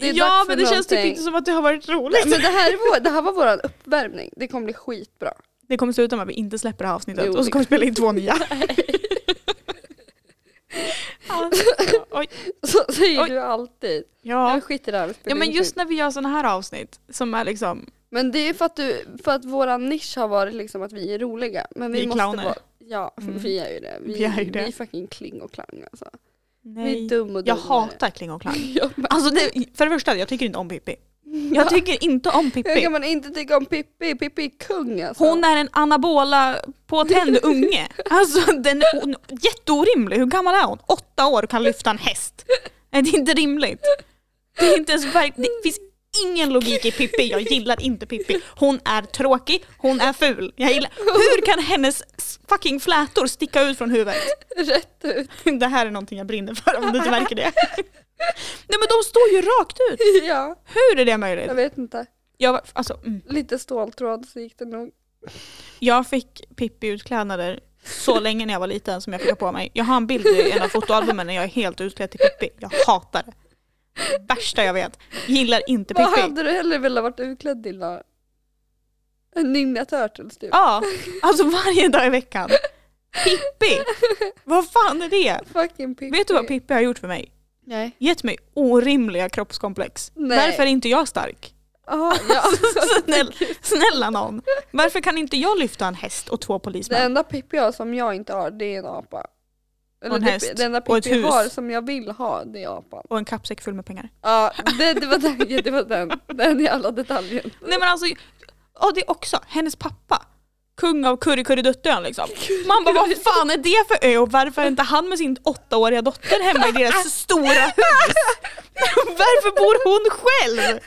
Speaker 2: Det är
Speaker 1: Ja
Speaker 2: dags för
Speaker 1: men det känns typ
Speaker 2: någonting.
Speaker 1: inte som att det har varit roligt.
Speaker 2: Nej, Men det här, är vår, det här var vår uppvärmning. Det kommer bli skitbra.
Speaker 1: Det kommer sluta med att vi inte släpper det här avsnittet
Speaker 2: Jo,
Speaker 1: och
Speaker 2: det-
Speaker 1: så kommer vi spela in två nya. alltså, oj,
Speaker 2: Så säger
Speaker 1: Oj.
Speaker 2: du alltid.
Speaker 1: ja.
Speaker 2: Jag skiter i det här. vi spelar
Speaker 1: ja men
Speaker 2: in
Speaker 1: just
Speaker 2: typ.
Speaker 1: när vi gör sådana här avsnitt som är liksom,
Speaker 2: men det är för att, du, för att vår nisch har varit liksom att vi är roliga. Men vi,
Speaker 1: Vi är
Speaker 2: måste
Speaker 1: clowner.
Speaker 2: vara... Ja,
Speaker 1: Mm.
Speaker 2: vi är ju det. Vi,
Speaker 1: Vi är ju det.
Speaker 2: vi fucking kling och klang alltså. Vi är
Speaker 1: nej.
Speaker 2: dum och
Speaker 1: Jag
Speaker 2: dummare.
Speaker 1: hatar Kling och Klang.
Speaker 2: Ja, men-
Speaker 1: Alltså det, för det första, jag tycker inte om Pippi. Jag tycker inte om
Speaker 2: Hur
Speaker 1: Pippi.
Speaker 2: kan man inte tycka om Pippi? Pippi är kung alltså.
Speaker 1: Hon är en anabola påtänd unge. Alltså den är hon, jätteorimlig. Hur gammal är hon? Åtta år och kan lyfta en häst. Nej, det är inte rimligt. Det är inte ens verk- Det finns ingen logik i Pippi. Jag gillar inte Pippi. Hon är tråkig, hon är ful. Jag gillar. Hur kan hennes fucking flätor sticka ut från huvudet?
Speaker 2: rätt ut.
Speaker 1: Det här är någonting jag brinner för om det inte verkar det. Nej men de står ju rakt ut.
Speaker 2: Ja,
Speaker 1: Hur är det möjligt?
Speaker 2: jag vet inte.
Speaker 1: Jag, var, alltså, mm.
Speaker 2: Lite ståltråd så gick det nog.
Speaker 1: jag fick Pippi-utklädnader så länge när jag var liten som jag fick ha på mig. Jag har en bild i en av fotoalbumen när jag är helt utklädd till Pippi. Jag hatar det. Värsta jag vet. Gillar inte
Speaker 2: Vad
Speaker 1: Pippi.
Speaker 2: hade du hellre velat varit utklädd till då? En Ninja Turtles typ.
Speaker 1: Ja, alltså varje dag i veckan. Pippi! Vad fan är det?
Speaker 2: Fucking Pippi.
Speaker 1: Vet du vad Pippi har gjort för mig?
Speaker 2: Nej.
Speaker 1: Gett mig orimliga kroppskomplex.
Speaker 2: Nej.
Speaker 1: Varför är inte jag stark?
Speaker 2: Aha, ja. alltså,
Speaker 1: Snäll, snälla någon. Varför kan inte jag lyfta en häst och två
Speaker 2: Det
Speaker 1: polismän?
Speaker 2: enda Pippi jag har som jag inte har det är en apa. Eller
Speaker 1: en
Speaker 2: det-
Speaker 1: häst.
Speaker 2: Det enda
Speaker 1: Och ett
Speaker 2: Pippi jag
Speaker 1: hus.
Speaker 2: har som jag vill ha det är apan.
Speaker 1: Och en kappsäck full med pengar.
Speaker 2: Ja, det, det var den, det var den, den jävla detaljen.
Speaker 1: Nej men alltså, ja det också. Hennes pappa. Kung av Kurrekurreduttöön liksom. Man bara vad fan är det för ö och varför är inte han med sin åttaåriga dotter hemma i deras stora hus? Varför bor hon själv?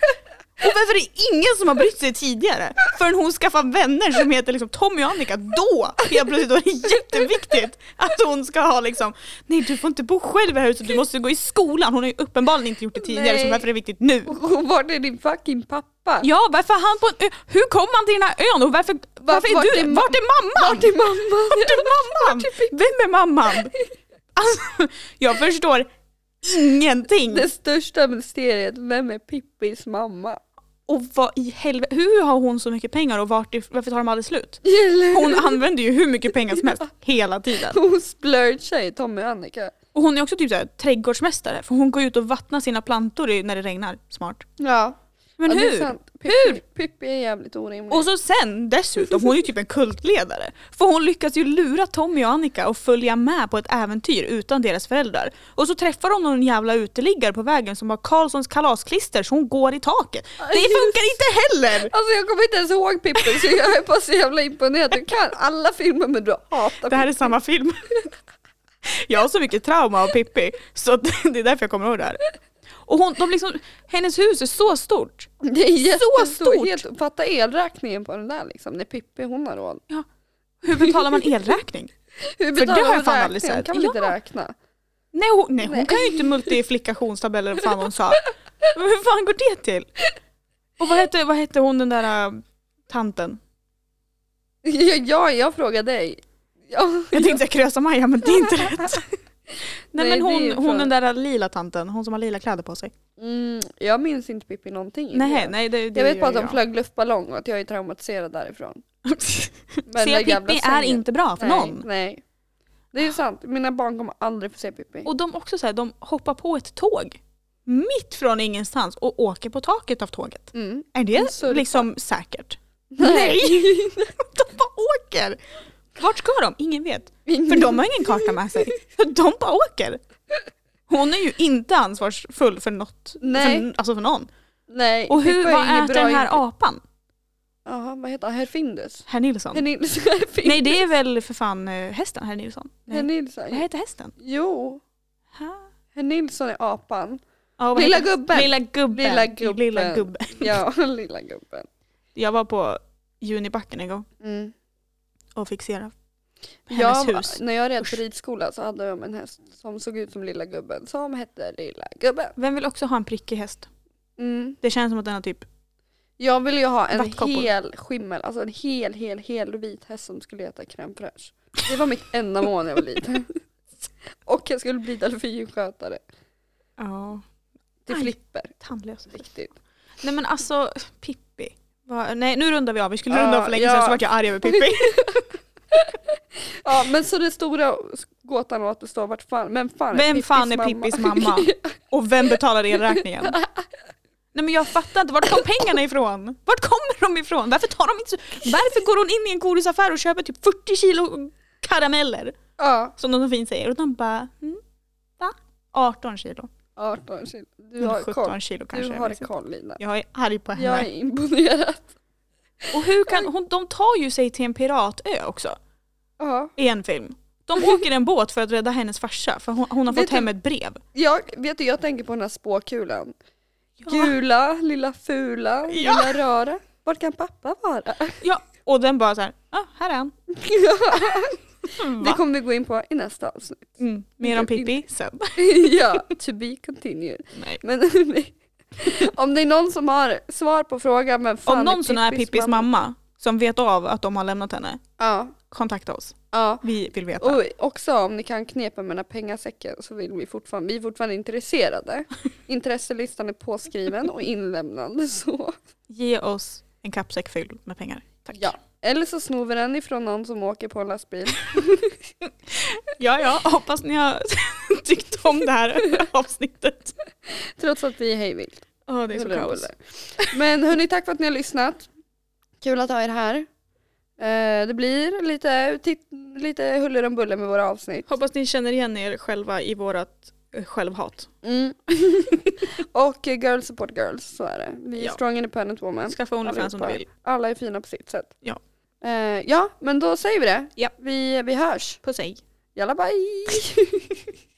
Speaker 1: Och varför är det ingen som har brytt sig tidigare? Förrän hon skaffar vänner som heter liksom Tommy och Annika, då helt plötsligt var det jätteviktigt att hon ska ha liksom, nej du får inte bo själv i det här huset, du måste gå i skolan. Hon har ju uppenbarligen inte gjort det tidigare, så
Speaker 2: Nej.
Speaker 1: varför är det viktigt nu?
Speaker 2: Och- och Vart är din fucking pappa?
Speaker 1: Ja, varför är han på en ö? Hur kom han till den här ön och varför, varför är
Speaker 2: vart
Speaker 1: du
Speaker 2: är ma-
Speaker 1: Vart är mamman?
Speaker 2: Vart är mamman?
Speaker 1: Vart är mamman? Vem är mamman? Alltså, jag förstår ingenting.
Speaker 2: Det största mysteriet, vem är Pippis mamma?
Speaker 1: Och vad i helvete, hur har hon så mycket pengar och vart, if- varför tar de aldrig slut?
Speaker 2: Eller
Speaker 1: Hon använder ju hur mycket pengar som helst hela tiden.
Speaker 2: hon splurgar i Tommy och Annika.
Speaker 1: Och hon är också typ såhär, trädgårdsmästare för hon går ut och vattnar sina plantor i- när det regnar. Smart.
Speaker 2: Ja.
Speaker 1: Men
Speaker 2: ja, det är
Speaker 1: hur?
Speaker 2: sant. Pippi, Pippi är jävligt orimlig.
Speaker 1: Och så sen dessutom, hon är ju typ en kultledare. För hon lyckas ju lura Tommy och Annika att följa med på ett äventyr utan deras föräldrar. Och så träffar hon någon jävla uteliggare på vägen som har Karlssons kalasklister så hon går i taket. Det funkar inte heller!
Speaker 2: Alltså jag kommer inte ens ihåg Pippi så jag är bara så jävla imponerad. Du kan alla filmer men du hatar
Speaker 1: Det här är samma film. Jag har så mycket trauma av Pippi så att det är därför jag kommer ihåg det här. Och hon, de liksom, hennes hus är så stort.
Speaker 2: Pippi. Det är
Speaker 1: så
Speaker 2: jättestort.
Speaker 1: stort.
Speaker 2: Helt, fatta elräkningen på den där liksom. När Pippi hon har råd.
Speaker 1: Hur betalar man elräkning?
Speaker 2: Hur
Speaker 1: det har
Speaker 2: hon
Speaker 1: jag fan
Speaker 2: räkningen?
Speaker 1: aldrig sett.
Speaker 2: kan man
Speaker 1: Ja.
Speaker 2: inte räkna?
Speaker 1: Nej hon, nej,
Speaker 2: Nej.
Speaker 1: hon kan ju inte multiplikationstabeller, vad fan hon sa. Men hur fan går det till? Och vad hette, vad hette hon den där äh, tanten?
Speaker 2: Ja, ja jag frågar dig. Ja.
Speaker 1: Jag tänkte säga Krösa-Maja men det är inte rätt. Nej,
Speaker 2: Nej,
Speaker 1: men
Speaker 2: det är ju
Speaker 1: hon,
Speaker 2: fan-
Speaker 1: hon den där lila tanten, hon som har lila kläder på sig.
Speaker 2: Mm, jag minns inte Pippi någonting.
Speaker 1: Nej, nej det, det
Speaker 2: Jag vet
Speaker 1: gör
Speaker 2: bara att
Speaker 1: ju
Speaker 2: de flög luftballong och att jag är traumatiserad därifrån. Men
Speaker 1: Se
Speaker 2: den jävla
Speaker 1: Pippi är
Speaker 2: sängen-
Speaker 1: inte bra för
Speaker 2: nej,
Speaker 1: någon. Ah.
Speaker 2: Nej. Det är ju sant, mina barn kommer aldrig få se Pippi.
Speaker 1: Och de också så här, de hoppar på ett tåg. Mitt från ingenstans och åker på taket av tåget.
Speaker 2: Mm.
Speaker 1: Är
Speaker 2: En
Speaker 1: det
Speaker 2: surfa.
Speaker 1: liksom säkert?
Speaker 2: Nej.
Speaker 1: de bara åker! Vart ska de? Ingen vet. För de har ingen karta med sig. De bara åker. Hon är ju inte ansvarsfull för något.
Speaker 2: Nej.
Speaker 1: För, alltså för någon.
Speaker 2: Nej,
Speaker 1: Och hur,
Speaker 2: Pippi har
Speaker 1: vad
Speaker 2: ingen
Speaker 1: äter
Speaker 2: bra
Speaker 1: den här
Speaker 2: inf-
Speaker 1: apan?
Speaker 2: Ja, vad heter han? Herr Findus?
Speaker 1: Herr Nilsson?
Speaker 2: Herr Nils- Herr Findus.
Speaker 1: Nej det är väl för fan eh, hästen, herr Nilsson?
Speaker 2: Herr
Speaker 1: Nej. Vad
Speaker 2: Nilsson.
Speaker 1: heter hästen?
Speaker 2: Jo,
Speaker 1: Ha?
Speaker 2: herr Nilsson är apan.
Speaker 1: Ja, vad
Speaker 2: Lilla
Speaker 1: heter-
Speaker 2: gubben.
Speaker 1: Lilla gubben.
Speaker 2: Lilla gubben.
Speaker 1: Lilla gubben.
Speaker 2: Ja, lilla gubben.
Speaker 1: Jag var på Junibacken en gång
Speaker 2: Mm.
Speaker 1: och fick se det. hennes
Speaker 2: jag,
Speaker 1: hus.
Speaker 2: När jag red på ridskola så hade jag en häst som såg ut som lilla gubben som hette lilla gubben.
Speaker 1: Vem vill också ha en prickig häst?
Speaker 2: Mm.
Speaker 1: Det känns som att den har typ,
Speaker 2: Jag ville ju ha en
Speaker 1: Vattkoppor.
Speaker 2: hel skimmel, alltså en hel, hel, hel vit häst som skulle heta crème fraîche. Det var mitt enda mål när jag var liten. Och jag skulle bli delfinskötare.
Speaker 1: ja,
Speaker 2: Till
Speaker 1: Aj.
Speaker 2: flipper,
Speaker 1: tandlös.
Speaker 2: riktigt.
Speaker 1: Nej men alltså, Pippi. Va- Nej nu rundar vi av, vi skulle
Speaker 2: Ja,
Speaker 1: runda av för länge
Speaker 2: ja.
Speaker 1: sedan så vart jag arg över Pippi.
Speaker 2: Ja men så den stora gåtan återstår, vart fan, vem fan är
Speaker 1: Vem fan är
Speaker 2: mamma?
Speaker 1: Pippis mamma? Och vem betalar elräkningen? Nej men jag fattar inte, vart kom pengarna ifrån? Vart kommer de ifrån? Varför tar de inte så... Varför går hon in i en godisaffär och köper typ 40 kilo karameller?
Speaker 2: ja,
Speaker 1: Som de så fint säger. Och de bara, mm, va? 18 kilo.
Speaker 2: 18 kilo. Du
Speaker 1: Eller
Speaker 2: har
Speaker 1: 17
Speaker 2: koll.
Speaker 1: kilo kanske.
Speaker 2: Du
Speaker 1: jag
Speaker 2: har
Speaker 1: vet inte.
Speaker 2: koll Lina.
Speaker 1: jag är arg på henne.
Speaker 2: Jag är imponerad.
Speaker 1: Och hur kan hon, de tar ju sig till en piratö också
Speaker 2: Ja.
Speaker 1: i en film. De åker en båt för att rädda hennes farsa för hon, hon har
Speaker 2: Vet
Speaker 1: fått
Speaker 2: du-
Speaker 1: hem ett brev.
Speaker 2: Jag, vet du, jag tänker på den här spåkulan.
Speaker 1: Ja.
Speaker 2: Gula, lilla fula,
Speaker 1: Ja.
Speaker 2: lilla röra. Var kan pappa vara?
Speaker 1: Ja. Och den bara såhär, ah, här är han.
Speaker 2: Det kommer vi gå in på i nästa avsnitt.
Speaker 1: Mm, mer om Pippi sen.
Speaker 2: ja, to be continued.
Speaker 1: Nej.
Speaker 2: Men om det är någon som har svar på frågan men fan
Speaker 1: Om någon som är
Speaker 2: Pippis
Speaker 1: Pippis mamma som vet av att de har lämnat henne,
Speaker 2: Ja,
Speaker 1: kontakta oss.
Speaker 2: ja.
Speaker 1: Vi vill veta.
Speaker 2: Och också om ni kan knepa med den här pengasäcken så vill vi fortfarande, vi är fortfarande intresserade. Intresselistan är påskriven och inlämnad så.
Speaker 1: Ge oss en kappsäck fylld med pengar. Tack.
Speaker 2: Ja. Eller så snor vi den ifrån någon som åker på en lastbil.
Speaker 1: ja, ja. Hoppas ni har tyckt om det här avsnittet.
Speaker 2: Trots att vi är hejvilt.
Speaker 1: Ja, det är så
Speaker 2: Huller om
Speaker 1: kaos.
Speaker 2: buller. Men hörni, tack för att ni har lyssnat. Kul att ha er här. Eh, det blir lite, tit- lite huller om buller med våra avsnitt.
Speaker 1: Hoppas ni känner igen er själva i vårat eh, självhat.
Speaker 2: Mm. och eh, girls support girls, så är det. Vi är
Speaker 1: Ja.
Speaker 2: strong independent women.
Speaker 1: Skaffa Onlyfans om du
Speaker 2: Allihopa.
Speaker 1: vill.
Speaker 2: Alla är fina på sitt sätt.
Speaker 1: Ja.
Speaker 2: Eh, ja, men då säger vi det.
Speaker 1: Ja.
Speaker 2: Vi, vi hörs.
Speaker 1: Puss hej.
Speaker 2: Jalla bye!